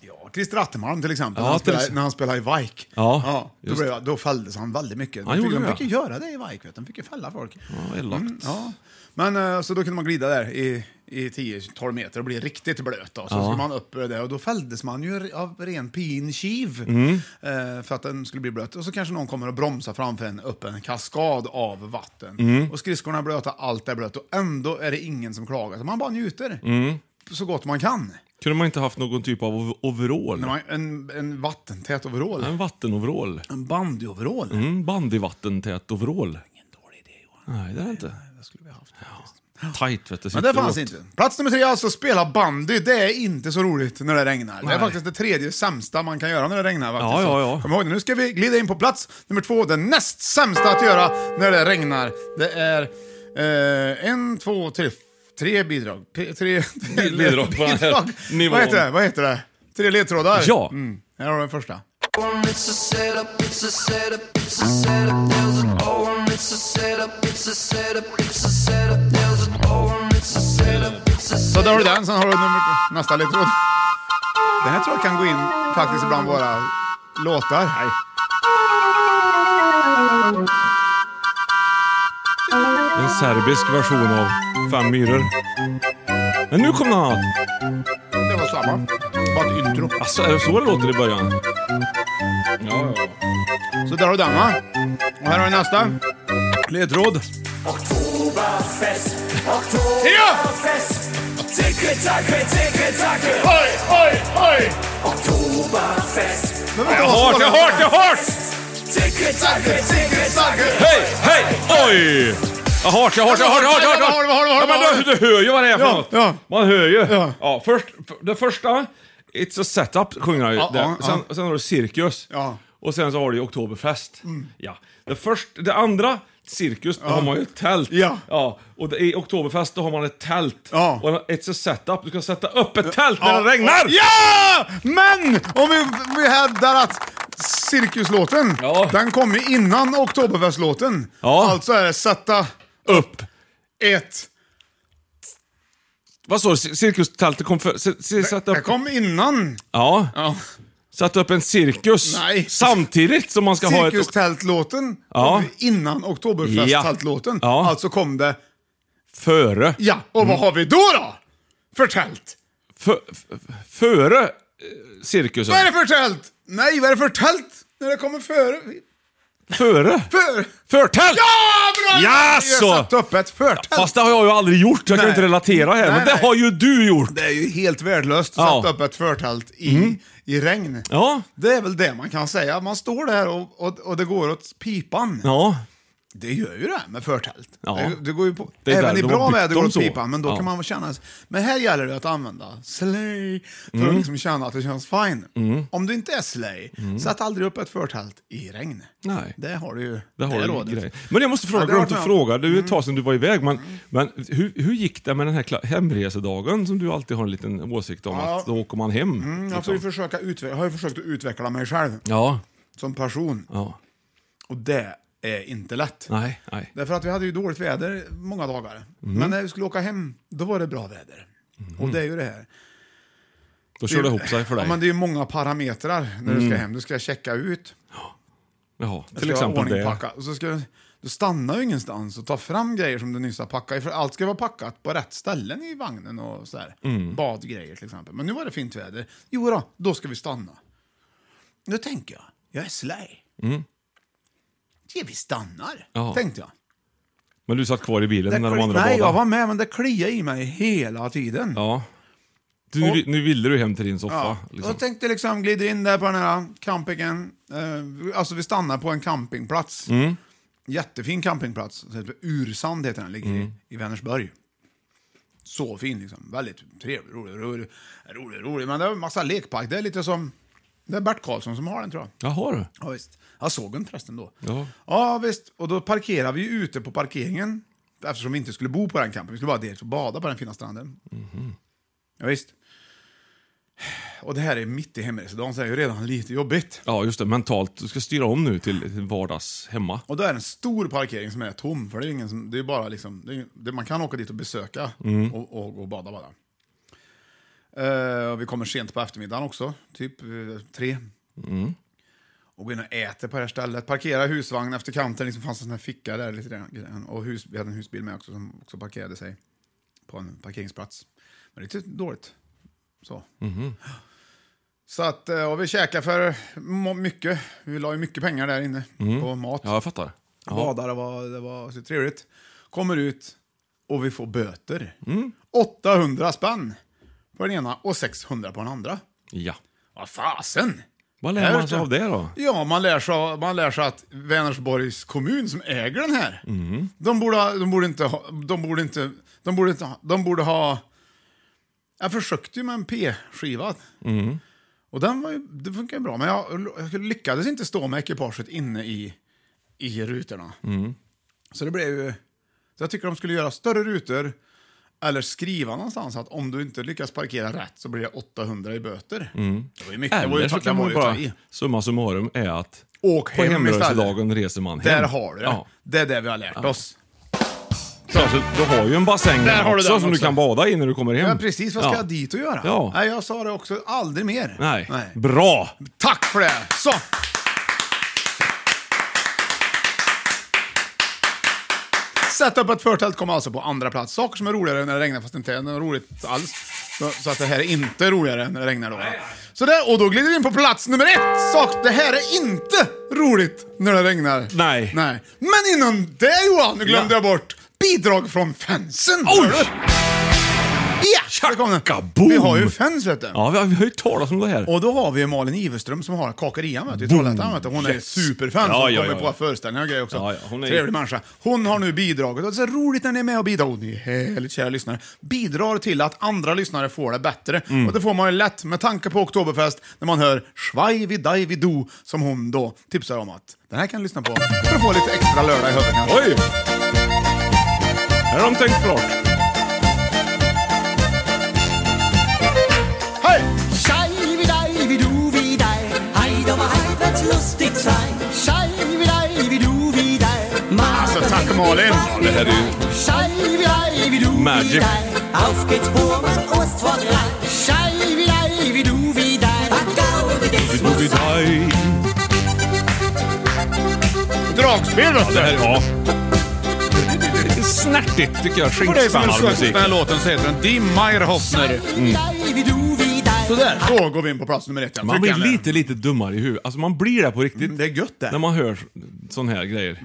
[SPEAKER 1] Ja, Christer Attermalm till exempel,
[SPEAKER 2] Ja,
[SPEAKER 1] när, han
[SPEAKER 2] till
[SPEAKER 1] spelade,
[SPEAKER 2] exempel.
[SPEAKER 1] när han spelade i Vike.
[SPEAKER 2] Ja,
[SPEAKER 1] då,
[SPEAKER 2] just
[SPEAKER 1] blev, då fälldes han väldigt mycket.
[SPEAKER 2] Han
[SPEAKER 1] de fick,
[SPEAKER 2] gjorde
[SPEAKER 1] de
[SPEAKER 2] det.
[SPEAKER 1] fick ju göra det i Vike, vet du. de fick ju fälla folk.
[SPEAKER 2] Ja, elakt.
[SPEAKER 1] Mm, ja. Men eh, så då kunde man glida där i, i 10-12 meter och bli riktigt blöt. Då. Så
[SPEAKER 2] Ja.
[SPEAKER 1] skulle man upp där och då fälldes man ju av ren pinkiv
[SPEAKER 2] Mm.
[SPEAKER 1] eh, för att den skulle bli blöt. Och så kanske någon kommer och bromsar framför en upp en kaskad av vatten.
[SPEAKER 2] Mm.
[SPEAKER 1] Och skridskorna är blöta, allt är blött och ändå är det ingen som klagar. Så man bara njuter
[SPEAKER 2] Mm.
[SPEAKER 1] så gott man kan.
[SPEAKER 2] Kunde man inte haft någon typ av ov- overall?
[SPEAKER 1] När man, en, en vattentät overall.
[SPEAKER 2] En vattenoverall.
[SPEAKER 1] En bandyoverall.
[SPEAKER 2] Mm, bandyvattentät overall. Ingen dålig idé Johan. Nej, det är det inte.
[SPEAKER 1] Det skulle vi ha haft.
[SPEAKER 2] Tight vet du.
[SPEAKER 1] Men det
[SPEAKER 2] sitter
[SPEAKER 1] fanns
[SPEAKER 2] åt.
[SPEAKER 1] inte. Plats nummer tre, alltså spela bandy. Det är inte så roligt när det regnar. Det är
[SPEAKER 2] Nej.
[SPEAKER 1] faktiskt det tredje sämsta man kan göra när det regnar. Faktiskt.
[SPEAKER 2] Ja,
[SPEAKER 1] Så
[SPEAKER 2] ja, ja.
[SPEAKER 1] Kom ihåg det. Nu ska vi glida in på plats nummer två, det näst sämsta att göra när det regnar. Det är eh, en, två, tre, tre bidrag. P- tre, tre
[SPEAKER 2] Bidrag på den här nivån.
[SPEAKER 1] Vad heter det? Eh, Vad heter det? Tre ledtrådar.
[SPEAKER 2] Ja.
[SPEAKER 1] Mm. Här har du den första.
[SPEAKER 5] It's a setup, it's a setup, it's a setup, there's an oh, it's a setup, it's a setup, it's a setup, there's an oh, it's a setup, it's a
[SPEAKER 1] Så där har du den, sen har du nummer, nästa ledtråd. Den här tror jag kan gå in faktiskt ibland våra låtar. Nej.
[SPEAKER 2] En serbisk version av Fem myror. Men nu kom något annat.
[SPEAKER 1] Det var samma. Bara ett intro.
[SPEAKER 2] Alltså, är det så det låter i början? Ja, ja.
[SPEAKER 1] Så där har du den va? Och här har vi nästa.
[SPEAKER 2] Ledtråd.
[SPEAKER 5] Oktoberfest, Oktoberfest, Ticke, Tacke, Ticke, Tacke, oi, oi, oi, Oktoberfest,
[SPEAKER 2] Jag har jag har jag har
[SPEAKER 5] Ticke, Tacke, Ticke, Tacke,
[SPEAKER 2] Hej, hej, oj! Jag har jag har jag har jag har jag
[SPEAKER 1] Vad har du, vad har du, vad har du,
[SPEAKER 2] Ja,
[SPEAKER 1] vad har
[SPEAKER 2] men du, du hör ju vad det är för
[SPEAKER 1] Ja,
[SPEAKER 2] något.
[SPEAKER 1] ja.
[SPEAKER 2] Man hör ju.
[SPEAKER 1] Ja.
[SPEAKER 2] först, f- det första, It's a setup, sjunger han ju.
[SPEAKER 1] Ja,
[SPEAKER 2] där.
[SPEAKER 1] ja, ja.
[SPEAKER 2] sen, sen har du cirkus.
[SPEAKER 1] Ja. Mm.
[SPEAKER 2] Och sen så har du ju Oktoberfest. Ja. Det, först, det andra, cirkus, då har man ju ett tält.
[SPEAKER 1] Ja.
[SPEAKER 2] Och det, i Oktoberfest då har man ett tält.
[SPEAKER 1] Ja.
[SPEAKER 2] Och It's a setup, du ska sätta upp ett tält när
[SPEAKER 1] Ja,
[SPEAKER 2] det regnar!
[SPEAKER 1] och- Ja! Men om vi, vi hävdar att cirkuslåten,
[SPEAKER 2] Ja.
[SPEAKER 1] den kom ju innan Oktoberfestlåten.
[SPEAKER 2] Ja.
[SPEAKER 1] Alltså är det sätta
[SPEAKER 2] Upp!
[SPEAKER 1] ett...
[SPEAKER 2] Vad sa du? Cir- Cirkustältet kom för... cir- cir- Sätta
[SPEAKER 1] Det
[SPEAKER 2] upp...
[SPEAKER 1] kom innan.
[SPEAKER 2] Ja.
[SPEAKER 1] Ja.
[SPEAKER 2] Sätta upp en cirkus
[SPEAKER 1] Nej.
[SPEAKER 2] samtidigt som man ska ha ett...
[SPEAKER 1] Cirkustältlåten
[SPEAKER 2] Ja.
[SPEAKER 1] kom ju innan Oktoberfesttältlåten.
[SPEAKER 2] Ja. Ja.
[SPEAKER 1] Alltså kom det...
[SPEAKER 2] Före.
[SPEAKER 1] Ja, och vad har vi då då? För tält?
[SPEAKER 2] Fö- f- före eh, cirkusen.
[SPEAKER 1] Vad är det för tält? Nej, vad är det för tält? När det kommer före...
[SPEAKER 2] Före?
[SPEAKER 1] För...
[SPEAKER 2] Förtält!
[SPEAKER 1] Ja, bra!
[SPEAKER 2] Jaså!
[SPEAKER 1] Jag satte upp ett förtält.
[SPEAKER 2] Fast det har jag ju aldrig gjort, jag kan
[SPEAKER 1] Nej.
[SPEAKER 2] inte relatera här.
[SPEAKER 1] Nej,
[SPEAKER 2] men det
[SPEAKER 1] nej.
[SPEAKER 2] har ju du gjort!
[SPEAKER 1] Det är ju helt värdelöst att
[SPEAKER 2] Ja. Mm.
[SPEAKER 1] sätta upp ett förtält i, i regn.
[SPEAKER 2] Ja.
[SPEAKER 1] Det är väl det man kan säga. Man står där och, och, och det går åt pipan.
[SPEAKER 2] Ja.
[SPEAKER 1] Det gör ju det med förtält.
[SPEAKER 2] Ja.
[SPEAKER 1] Det, det går ju på,
[SPEAKER 2] Det är
[SPEAKER 1] även
[SPEAKER 2] där
[SPEAKER 1] i
[SPEAKER 2] de har
[SPEAKER 1] bra
[SPEAKER 2] byggt
[SPEAKER 1] väder går
[SPEAKER 2] dem
[SPEAKER 1] åt
[SPEAKER 2] så.
[SPEAKER 1] pipan, men då
[SPEAKER 2] Ja.
[SPEAKER 1] kan man känna... Men här gäller det att använda slay för
[SPEAKER 2] Mm.
[SPEAKER 1] att liksom känna att det känns fine. Om du inte är slay,
[SPEAKER 2] Mm.
[SPEAKER 1] sätt aldrig upp ett förtält i regn.
[SPEAKER 2] Nej.
[SPEAKER 1] Det har du ju.
[SPEAKER 2] Det har
[SPEAKER 1] är
[SPEAKER 2] du
[SPEAKER 1] rådet.
[SPEAKER 2] grejen. Men jag måste fråga,
[SPEAKER 1] Ja, det
[SPEAKER 2] jag glömde
[SPEAKER 1] har
[SPEAKER 2] att
[SPEAKER 1] jag. Mm.
[SPEAKER 2] fråga. Det är ju ett tag sedan du var iväg, men, men hur, hur gick det med den här kla- hemresedagen som du alltid har en liten åsikt om?
[SPEAKER 1] Ja.
[SPEAKER 2] Att då åker man hem. liksom?
[SPEAKER 1] Mm, Jag får ju försöka utve- jag har ju försökt att utveckla mig själv
[SPEAKER 2] Ja.
[SPEAKER 1] som person.
[SPEAKER 2] Ja.
[SPEAKER 1] Och det är inte lätt.
[SPEAKER 2] Nej, Mm. nej.
[SPEAKER 1] Därför att vi hade ju dåligt väder många dagar. Men när vi skulle åka hem, då var det bra väder. Och det är ju det här.
[SPEAKER 2] Mm. Då kör det ihop sig för dig. Mm.
[SPEAKER 1] Ja, men det är ju många parametrar när du ska hem. Du ska checka ut,
[SPEAKER 2] Jaha,
[SPEAKER 1] du
[SPEAKER 2] till
[SPEAKER 1] ska
[SPEAKER 2] exempel det.
[SPEAKER 1] ordningpacka. Och så ska du stannar ju ingenstans och tar fram grejer som du nyss har packat. För allt ska vara packat på rätt ställen i vagnen och sådär.
[SPEAKER 2] Mm.
[SPEAKER 1] Badgrejer till exempel. Men nu var det fint väder. Jo då, då ska vi stanna. Nu tänker jag, jag är slay. Ja, vi stannar,
[SPEAKER 2] Mm. Ja.
[SPEAKER 1] tänkte jag.
[SPEAKER 2] Men du satt kvar i bilen när de
[SPEAKER 1] kli-
[SPEAKER 2] andra
[SPEAKER 1] nej, jag
[SPEAKER 2] badade.
[SPEAKER 1] var med, men det kliade i mig hela tiden.
[SPEAKER 2] Ja. Du,
[SPEAKER 1] Och-
[SPEAKER 2] nu ville du hem till din soffa.
[SPEAKER 1] Ja,
[SPEAKER 2] Liksom.
[SPEAKER 1] Jag tänkte liksom glida in där på den här campingen. Eh, alltså vi stannar på en campingplats. Jättefin campingplats. Så heter det Ursand heter den, ligger i, i Vänersborg. Så fin liksom. Väldigt trevlig, rolig, rolig, rolig, rolig. Men det är en massa lekpark. Det är lite som, det är Bert Karlsson som har den tror jag.
[SPEAKER 2] Jaha du.
[SPEAKER 1] Ja, visst. Jag såg den förresten då.
[SPEAKER 2] Ja.
[SPEAKER 1] Ja, visst. Och då parkerade vi ju ute på parkeringen. Eftersom vi inte skulle bo på den campen. Vi skulle bara dels och bada på den fina stranden. Ja, visst. Och det här är mitt i hemresedagen, så det är ju redan lite jobbigt.
[SPEAKER 2] Ja, just det. Mentalt. Du ska styra om nu till till vardags hemma.
[SPEAKER 1] Och då är det en stor parkering som är tom, för det är ingen som,
[SPEAKER 2] Mm.
[SPEAKER 1] det är bara liksom, det är, ingen- det, man kan åka dit och besöka och, och, och bada bara. Eh, och vi kommer sent på eftermiddagen också, typ eh, tre.
[SPEAKER 2] Mm.
[SPEAKER 1] Och går in och äter på det här stället. Parkerar husvagn efter kanten, liksom fanns en sån här ficka där. Lite grann. Och hus, vi hade en husbil med också som också parkerade sig på en parkeringsplats. Men det är lite dåligt. Så.
[SPEAKER 2] Mhm.
[SPEAKER 1] Så att, eh, och vi käkade för må- mycket. Vi la ju mycket pengar där inne
[SPEAKER 2] Mm.
[SPEAKER 1] på mat.
[SPEAKER 2] Ja, jag fattar. Ja.
[SPEAKER 1] Badar, det var, det var så trevligt. Kommer ut och vi får böter. 800 spänn på den ena och 600 på den andra.
[SPEAKER 2] Ja.
[SPEAKER 1] Vad fasen!
[SPEAKER 2] Vad lär man sig av det då?
[SPEAKER 1] Ja, man lär sig, av- man lär sig att Vänersborgs kommun som äger den här,
[SPEAKER 2] Mm.
[SPEAKER 1] de, borde, ha- de borde inte ha... De borde inte... De borde, inte ha, de borde ha... Jag försökte ju med en P-skiva.
[SPEAKER 2] Mm.
[SPEAKER 1] Och den var ju, det funkar ju bra, men jag, jag lyckades inte stå med ekipaget inne i, i rutorna.
[SPEAKER 2] Mm.
[SPEAKER 1] Så det blev ju... Så jag tycker de skulle göra större rutor eller skriva någonstans att om du inte lyckas parkera rätt så blir det 800 i böter.
[SPEAKER 2] Mm.
[SPEAKER 1] Det var ju mycket. Det var ju
[SPEAKER 2] Eller så
[SPEAKER 1] ta-
[SPEAKER 2] kan
[SPEAKER 1] det var
[SPEAKER 2] man
[SPEAKER 1] ju
[SPEAKER 2] bara,
[SPEAKER 1] ta i.
[SPEAKER 2] summa summarum, är att
[SPEAKER 1] Åk
[SPEAKER 2] på
[SPEAKER 1] hem istället.
[SPEAKER 2] hemresedagen reser man hem.
[SPEAKER 1] Där har du det.
[SPEAKER 2] Ja.
[SPEAKER 1] Det är det vi har lärt oss.
[SPEAKER 2] Särskilt, du har ju en bassäng
[SPEAKER 1] Där har du
[SPEAKER 2] också
[SPEAKER 1] den
[SPEAKER 2] som du
[SPEAKER 1] också.
[SPEAKER 2] kan bada i när du kommer hem.
[SPEAKER 1] Ja, precis, vad ska jag dit och göra?
[SPEAKER 2] Ja.
[SPEAKER 1] Nej, jag sa det också, aldrig mer.
[SPEAKER 2] Nej. Bra!
[SPEAKER 1] Tack för det! Så! Sätta upp ett förtält kommer alltså på andra plats. Saker som är roligare när det regnar fast det inte är något roligt alls. Så, så att det här är inte roligare när det regnar då. Så där, och då glider vi in på plats nummer ett. Sak, det här är inte roligt när det regnar.
[SPEAKER 2] Nej.
[SPEAKER 1] Nej. Men innan det Johan, nu glömde jag bort bidrag från fansen. Oj! Ja, där kom den. Vi har ju fans vet du.
[SPEAKER 2] Ja, vi har, vi har ju talat om det här.
[SPEAKER 1] Och då har vi Malin Iverström som har Kakerian vet du, i
[SPEAKER 2] Boom.
[SPEAKER 1] Trollhättan. Vet du. Hon är
[SPEAKER 2] Yes.
[SPEAKER 1] superfan
[SPEAKER 2] Ja,
[SPEAKER 1] som
[SPEAKER 2] ja,
[SPEAKER 1] kommer
[SPEAKER 2] ja,
[SPEAKER 1] på
[SPEAKER 2] ja.
[SPEAKER 1] föreställningar och grejer också.
[SPEAKER 2] Ja, ja, hon är-
[SPEAKER 1] Trevlig människa. Hon har nu bidragit. Och det är så roligt när ni är med och bidrar. Och ni är härligt kära lyssnare. Bidrar till att andra lyssnare får det bättre.
[SPEAKER 2] Mm.
[SPEAKER 1] Och det får man ju lätt med tanke på Oktoberfest när man hör Schwei vid dig vid do som hon då tipsar om att den här kan du lyssna på för att få lite extra lördag i huvudet. kanske.
[SPEAKER 2] Oj! Här har de tänkt klart.
[SPEAKER 1] Hej!
[SPEAKER 5] Schei wie dei, wie du, wie dei. Hei, da war hei, wird's lustig sein. Schei wie dei, wie du, wie dei.
[SPEAKER 1] Alltså tack Malin!
[SPEAKER 2] Det här är ju...
[SPEAKER 5] Schei wie dei, wie du, wie
[SPEAKER 2] Magic.
[SPEAKER 5] dei. Auf geht's, Burmann, Ost vor drei. Schei wie dei, wie du, wie dei. Bagau, wie
[SPEAKER 2] Vi
[SPEAKER 5] des
[SPEAKER 2] tog vid
[SPEAKER 5] muss sein.
[SPEAKER 2] dig.
[SPEAKER 1] Dragspel vet
[SPEAKER 2] Det här,
[SPEAKER 1] du!
[SPEAKER 2] ja. Det är Snärtigt tycker jag.
[SPEAKER 1] För dig som vill söka
[SPEAKER 2] Skinkspännarmusik.
[SPEAKER 1] den här låten så heter den Die Meyerhoffner.
[SPEAKER 5] Wie dei, wie du, wie dei.
[SPEAKER 1] Sådär, då går vi in på plats nummer ett. Jag
[SPEAKER 2] Man blir
[SPEAKER 1] trycker den.
[SPEAKER 2] lite, lite dummare i huvudet. Alltså man blir det på riktigt.
[SPEAKER 1] Mm, Det är gött det. Mm.
[SPEAKER 2] När man hör sån här grejer.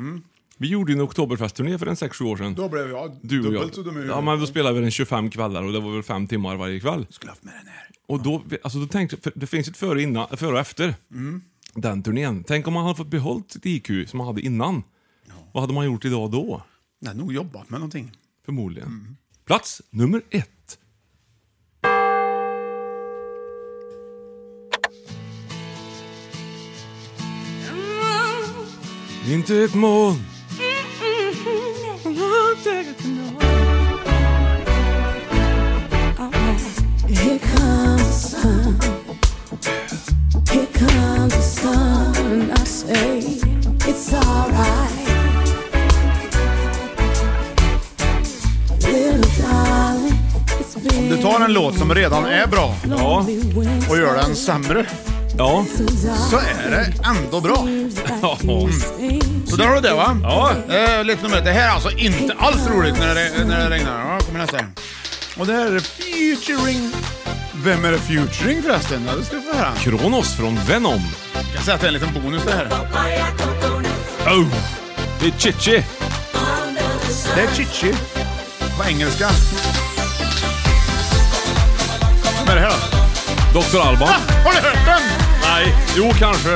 [SPEAKER 2] Vi gjorde ju en oktoberfestturné för en 6-7 år sedan.
[SPEAKER 1] Då blev jag
[SPEAKER 2] Du och
[SPEAKER 1] dubbelt
[SPEAKER 2] jag.
[SPEAKER 1] så dum i huvudet.
[SPEAKER 2] Ja, men då spelade vi den 25 kvällar och det var väl 5 timmar varje kväll.
[SPEAKER 1] skulle haft med den här.
[SPEAKER 2] Och då, alltså då tänkte jag, för det finns ett före, innan, före och efter.
[SPEAKER 1] Mm.
[SPEAKER 2] Den turnén. Tänk om man hade fått behållt sitt IQ som man hade innan. Vad hade man gjort idag då?
[SPEAKER 1] Nej, nog jobbat med någonting.
[SPEAKER 2] Förmodligen.
[SPEAKER 1] Mm.
[SPEAKER 2] Plats nummer ett. Inte ett moln.
[SPEAKER 8] Here comes the sun. Here comes the sun. And I say, it's alright. Little darling, it's been
[SPEAKER 1] Om du tar en låt som redan är bra
[SPEAKER 2] Ja,
[SPEAKER 1] och gör den sämre,
[SPEAKER 2] ja,
[SPEAKER 1] så är det ändå bra.
[SPEAKER 2] ja.
[SPEAKER 9] Mm.
[SPEAKER 1] Så där har du det va?
[SPEAKER 2] Ja.
[SPEAKER 1] Eh, lite nummer ett. Det här är alltså inte alls roligt när det, när det regnar. Ja, kommer nästa. Och det här är featuring... Vem är det featuring förresten? Ja, det ska du få höra.
[SPEAKER 2] Kronos från Venom.
[SPEAKER 1] Jag kan säga att det är en liten bonus det här.
[SPEAKER 2] Oh. Det är Chichi.
[SPEAKER 1] Det är Chichi. På engelska. Vad är det här då?
[SPEAKER 2] Dr. Alban.
[SPEAKER 1] Ah, har du hört den?
[SPEAKER 2] Nej, jo kanske.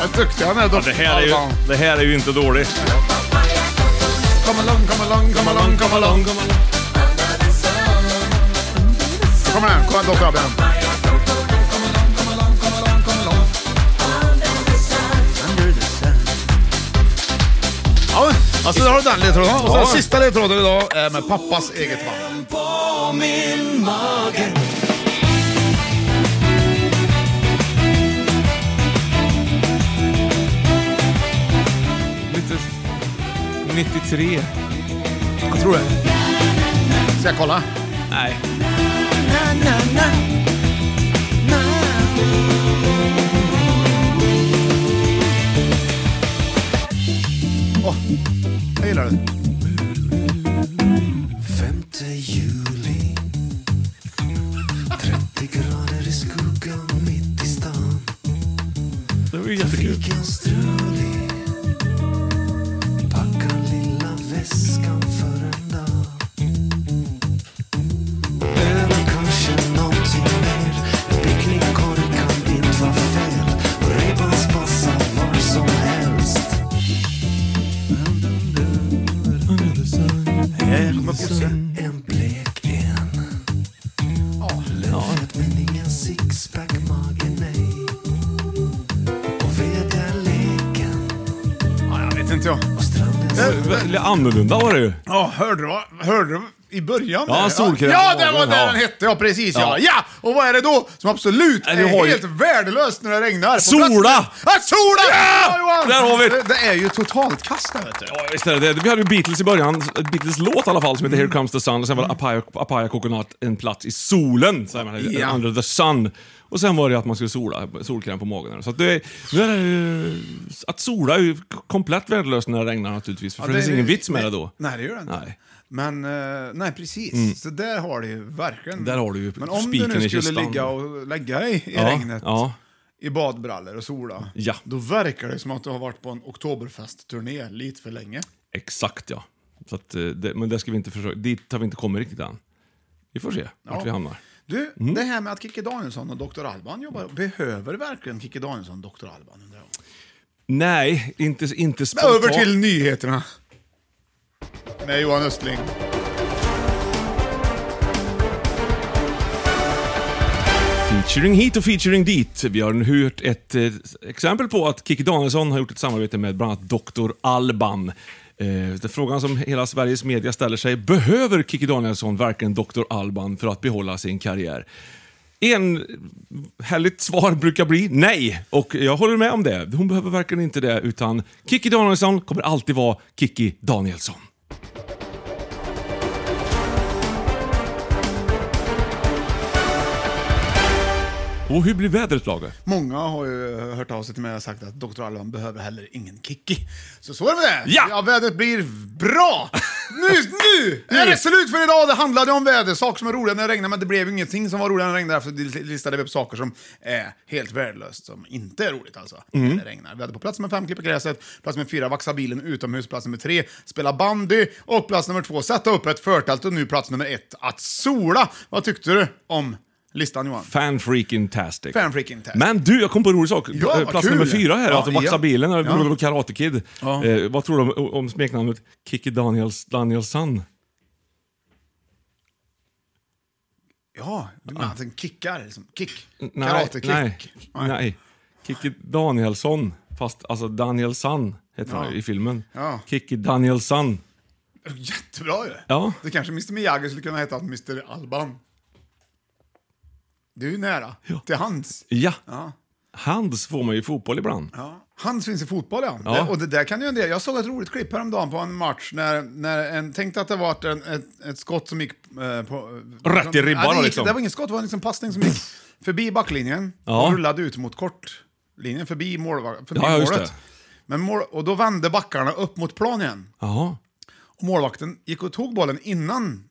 [SPEAKER 1] Vad duktig han är, Dr.
[SPEAKER 2] Det här är ju, det här är ju inte dåligt.
[SPEAKER 1] Come along, come along, come along, come along. Kommer den, kom Dr. Abbe. Ja, alltså där har du den ledtråden. Och så den sista ledtråden idag är med pappas eget band.
[SPEAKER 5] På min mage.
[SPEAKER 2] Lite 93.
[SPEAKER 1] Jag tror det. Ska jag kolla?
[SPEAKER 2] Nej.
[SPEAKER 1] Åh, jag gillar det.
[SPEAKER 5] juli 30 grader i skuggan mitt i stan
[SPEAKER 2] Det var ju jättekul.
[SPEAKER 5] Trafiken strulig Packar lilla väskan för en dag Ölen kanske någonting mer En picknickkorg kan inte vara fel Och Ray-Bans passar var som helst
[SPEAKER 1] Jag kommer på sen.
[SPEAKER 5] En blek en Lönnfet men ingen sixpack mage nej Och väderleken
[SPEAKER 1] Ja, Eh, jag vet inte jag.
[SPEAKER 9] Alltså,
[SPEAKER 2] Lite annorlunda var det ju.
[SPEAKER 1] Ja, hörde du vad- Hörde du i början?
[SPEAKER 2] Ja,
[SPEAKER 1] där?
[SPEAKER 2] solkräm
[SPEAKER 1] Ja,
[SPEAKER 2] på
[SPEAKER 1] det var
[SPEAKER 2] magen,
[SPEAKER 1] där
[SPEAKER 2] ja.
[SPEAKER 1] den hette. Ja, precis ja.
[SPEAKER 2] Ja.
[SPEAKER 1] ja. Och vad är det då som absolut
[SPEAKER 2] Nej, du
[SPEAKER 1] är
[SPEAKER 2] har ju-
[SPEAKER 1] helt värdelöst när det regnar? På
[SPEAKER 2] Sola!
[SPEAKER 1] platsen? Ja, sola!
[SPEAKER 2] Ja!
[SPEAKER 1] Johan!
[SPEAKER 2] Där har vi det.
[SPEAKER 1] det. Det är ju totalt kast där, vet du.
[SPEAKER 2] Ja, visst är det det. Vi hade ju Beatles i början, Beatles låt i alla fall, som heter Here comes the sun. Och sen var det
[SPEAKER 1] Mm.
[SPEAKER 2] Apaya, Apaya Coconut, en plats i solen, säger man,
[SPEAKER 1] Ja.
[SPEAKER 2] under the sun. Och sen var det att man skulle sola, solkräm på magen. Så att det, nu är det ju, att sola är ju komplett värdelöst när det regnar naturligtvis, för det, finns ingen vits med det då.
[SPEAKER 1] Nej, det gör det inte.
[SPEAKER 2] Nej. Mm.
[SPEAKER 1] Men, eh, nej precis. Så där har du ju verkligen...
[SPEAKER 2] Där har du ju
[SPEAKER 1] Men om du
[SPEAKER 2] spiken
[SPEAKER 1] nu
[SPEAKER 2] i
[SPEAKER 1] skulle
[SPEAKER 2] kistan.
[SPEAKER 1] ligga och lägga dig i
[SPEAKER 2] Ja,
[SPEAKER 1] regnet,
[SPEAKER 2] ja.
[SPEAKER 1] i badbrallor och sola,
[SPEAKER 2] Ja.
[SPEAKER 1] då verkar det som att du har varit på en oktoberfest-turné lite för länge.
[SPEAKER 2] Exakt ja. Så att, eh, det, men det ska vi inte försöka, dit har vi inte kommit riktigt än. Vi får se vart vi hamnar.
[SPEAKER 1] Du, det här med att Kikki Danielsson och Dr. Alban jobbar, behöver verkligen Kikki Danielsson och Dr. Alban? undrar jag?
[SPEAKER 2] Nej, inte, inte
[SPEAKER 1] Men
[SPEAKER 2] spontant.
[SPEAKER 1] Över till nyheterna. Med Johan Östling.
[SPEAKER 2] Featuring hit och featuring dit. Vi har nu hört ett eh, exempel på att Kikki Danielsson har gjort ett samarbete med bland annat Dr. Alban. Eh, det är frågan som hela Sveriges media ställer sig, behöver Kikki Danielsson verkligen Dr. Alban för att behålla sin karriär? En härligt svar brukar bli nej, och jag håller med om det. Hon behöver verkligen inte det, utan Kikki Danielsson kommer alltid vara Kikki Danielsson. Och hur blir vädret, Lager?
[SPEAKER 1] Många har ju hört av sig till mig och sagt att Dr. Alban behöver heller ingen Kikki. Så så är det med det.
[SPEAKER 2] Ja!
[SPEAKER 1] vädret blir bra! Nu, nu är det slut för idag! Det handlade om väder, saker som är roliga när det regnar, men det blev ingenting som var roligare när det regnade. Därför listade vi upp saker som är helt värdelöst, som inte är roligt alltså,
[SPEAKER 2] Mm.
[SPEAKER 1] när det regnar. Vi hade på plats nummer fem, klippa gräset, plats nummer fyra, vaxa bilen utomhus, plats nummer tre, spela bandy och plats nummer två, sätta upp ett förtält och nu plats nummer ett, att sola. Vad tyckte du om listan Johan?
[SPEAKER 2] Fan-freaking-tastic.
[SPEAKER 1] Fan-freaking-tastic.
[SPEAKER 2] Men du, jag kom på en rolig sak.
[SPEAKER 1] Ja, vad
[SPEAKER 2] Plats
[SPEAKER 1] kul.
[SPEAKER 2] nummer fyra här,
[SPEAKER 1] Ja,
[SPEAKER 2] att vaxa
[SPEAKER 1] ja.
[SPEAKER 2] bilen, eller
[SPEAKER 1] Ja.
[SPEAKER 2] ja. Karate Kid.
[SPEAKER 1] Ja.
[SPEAKER 2] Eh, vad tror du om, om smeknamnet Kikki Daniels, Danielsson?
[SPEAKER 1] Ja, du menar att den kickar? Liksom. Kick?
[SPEAKER 2] Nej,
[SPEAKER 1] Karate-kick?
[SPEAKER 2] Nej, nej. Kikki Danielsson. Fast alltså Danielsson heter han ju i filmen.
[SPEAKER 1] Ja.
[SPEAKER 2] Kikki Danielsson.
[SPEAKER 1] Jättebra ju!
[SPEAKER 2] Ja.
[SPEAKER 1] Det kanske Mr Miyagi skulle kunna heta, Mr Alban. Du är nära. Till hans.
[SPEAKER 2] Ja.
[SPEAKER 1] Ja.
[SPEAKER 2] Hands får man ju i fotboll ibland.
[SPEAKER 1] Ja. Hans finns i fotboll, ja.
[SPEAKER 2] Ja.
[SPEAKER 1] Det, och det där kan ju en del. Jag såg ett roligt klipp häromdagen på en match när, när en tänkte att det var en, ett, ett skott som gick... Eh, på,
[SPEAKER 2] Rätt i ribban,
[SPEAKER 1] Ja, det, gick,
[SPEAKER 2] liksom.
[SPEAKER 1] det var inget skott, det var liksom en passning som gick förbi backlinjen
[SPEAKER 2] Ja.
[SPEAKER 1] och rullade ut mot kortlinjen, förbi, målvakt, förbi
[SPEAKER 2] Ja, ja, just
[SPEAKER 1] målet.
[SPEAKER 2] det.
[SPEAKER 1] Men mål, och då vände backarna upp mot plan igen.
[SPEAKER 2] Jaha,
[SPEAKER 1] Och målvakten gick och tog bollen innan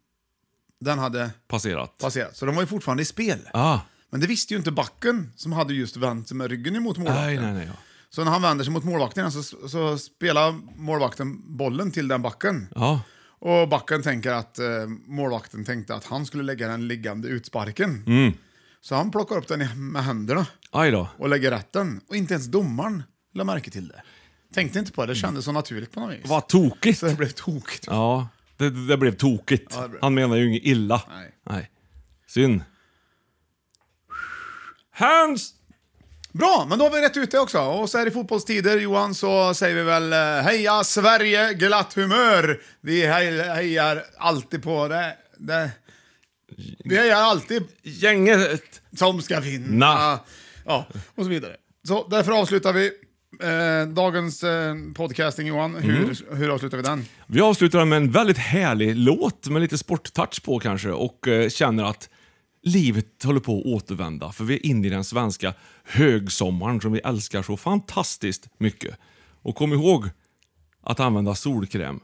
[SPEAKER 1] den hade
[SPEAKER 2] passerat.
[SPEAKER 1] passerat. Så de var ju fortfarande i spel.
[SPEAKER 2] ah.
[SPEAKER 1] Men det visste ju inte backen som hade just vänt sig med ryggen emot målvakten.
[SPEAKER 2] Nej, nej, nej. Ja.
[SPEAKER 1] Så när han vänder sig mot målvakten igen så, så spelar målvakten bollen till den backen.
[SPEAKER 2] ja.
[SPEAKER 1] Och backen tänker att eh, målvakten tänkte att han skulle lägga den liggande utsparken. Så han plockar upp den i- med händerna
[SPEAKER 2] Aj då.
[SPEAKER 1] och lägger rätt den. Och inte ens domaren lade märke till det. Tänkte inte på det, det kändes så naturligt på något vis.
[SPEAKER 2] Vad tokigt.
[SPEAKER 1] Så det blev tokigt.
[SPEAKER 2] Ja, det, det blev tokigt.
[SPEAKER 1] Ja, det blev-
[SPEAKER 2] Han menar ju inget illa.
[SPEAKER 1] Nej.
[SPEAKER 2] Synd. Hands!
[SPEAKER 1] Bra, men då har vi rätt ut det också. Och så här i fotbollstider, Johan, så säger vi väl eh, heja Sverige, glatt humör. Vi hej- hejar alltid på det. det. Vi hejar alltid
[SPEAKER 2] Gänget!
[SPEAKER 1] som ska vinna.
[SPEAKER 2] Na.
[SPEAKER 1] Ja, och så vidare. Så därför avslutar vi Eh, dagens eh, podcasting Johan,
[SPEAKER 5] Mm.
[SPEAKER 1] hur, hur avslutar vi den?
[SPEAKER 2] Vi avslutar den med en väldigt härlig låt med lite sporttouch på kanske och eh, känner att livet håller på att återvända för vi är inne i den svenska högsommaren som vi älskar så fantastiskt mycket. Och kom ihåg att använda solkräm,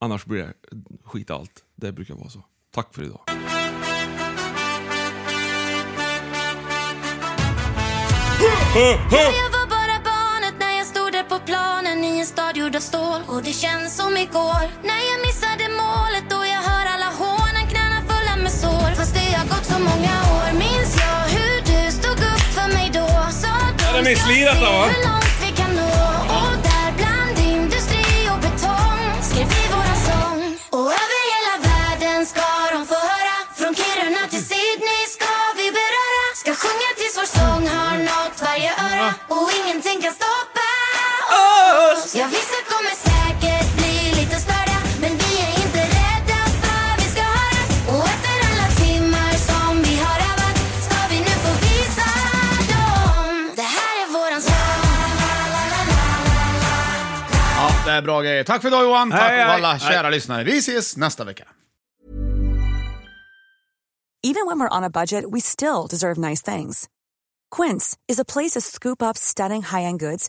[SPEAKER 2] annars blir det skit allt. Det brukar vara så. Tack för idag.
[SPEAKER 9] Ja, jag var bara barnet när jag stod där på planen i en stad gjord av stål. Och det känns som igår när jag missade målet och jag hör alla hånen, knäna fulla med sår. Fast det har gått så många år minns jag hur du stod upp för mig då. Sa att
[SPEAKER 2] Ja, det är
[SPEAKER 9] de
[SPEAKER 2] Miss
[SPEAKER 9] ska
[SPEAKER 2] Li
[SPEAKER 9] se
[SPEAKER 2] detta, va?
[SPEAKER 9] hur långt vi kan nå. Och där bland industri och betong skrev vi våran sång. Och över hela världen ska de få höra. Från Kiruna till Sydney ska vi beröra. Ska sjunga tills vår sång har nått varje öra. Och ingenting kan stoppa oss. Ja, vissa kommer säkert bli lite störda. Men vi är inte rädda för vi ska höras. Och efter alla timmar som vi har övat ska vi nu få visa dem. Det här är våran sång.
[SPEAKER 1] Ja, det är bra grejer. Tack för idag Johan, tack
[SPEAKER 5] Hej, hej.
[SPEAKER 1] alla kära
[SPEAKER 5] Hej.
[SPEAKER 1] lyssnare. Vi ses nästa vecka.
[SPEAKER 10] Even when we're on a budget, we still deserve nice things. Quince is a place to scoop up stunning high-end goods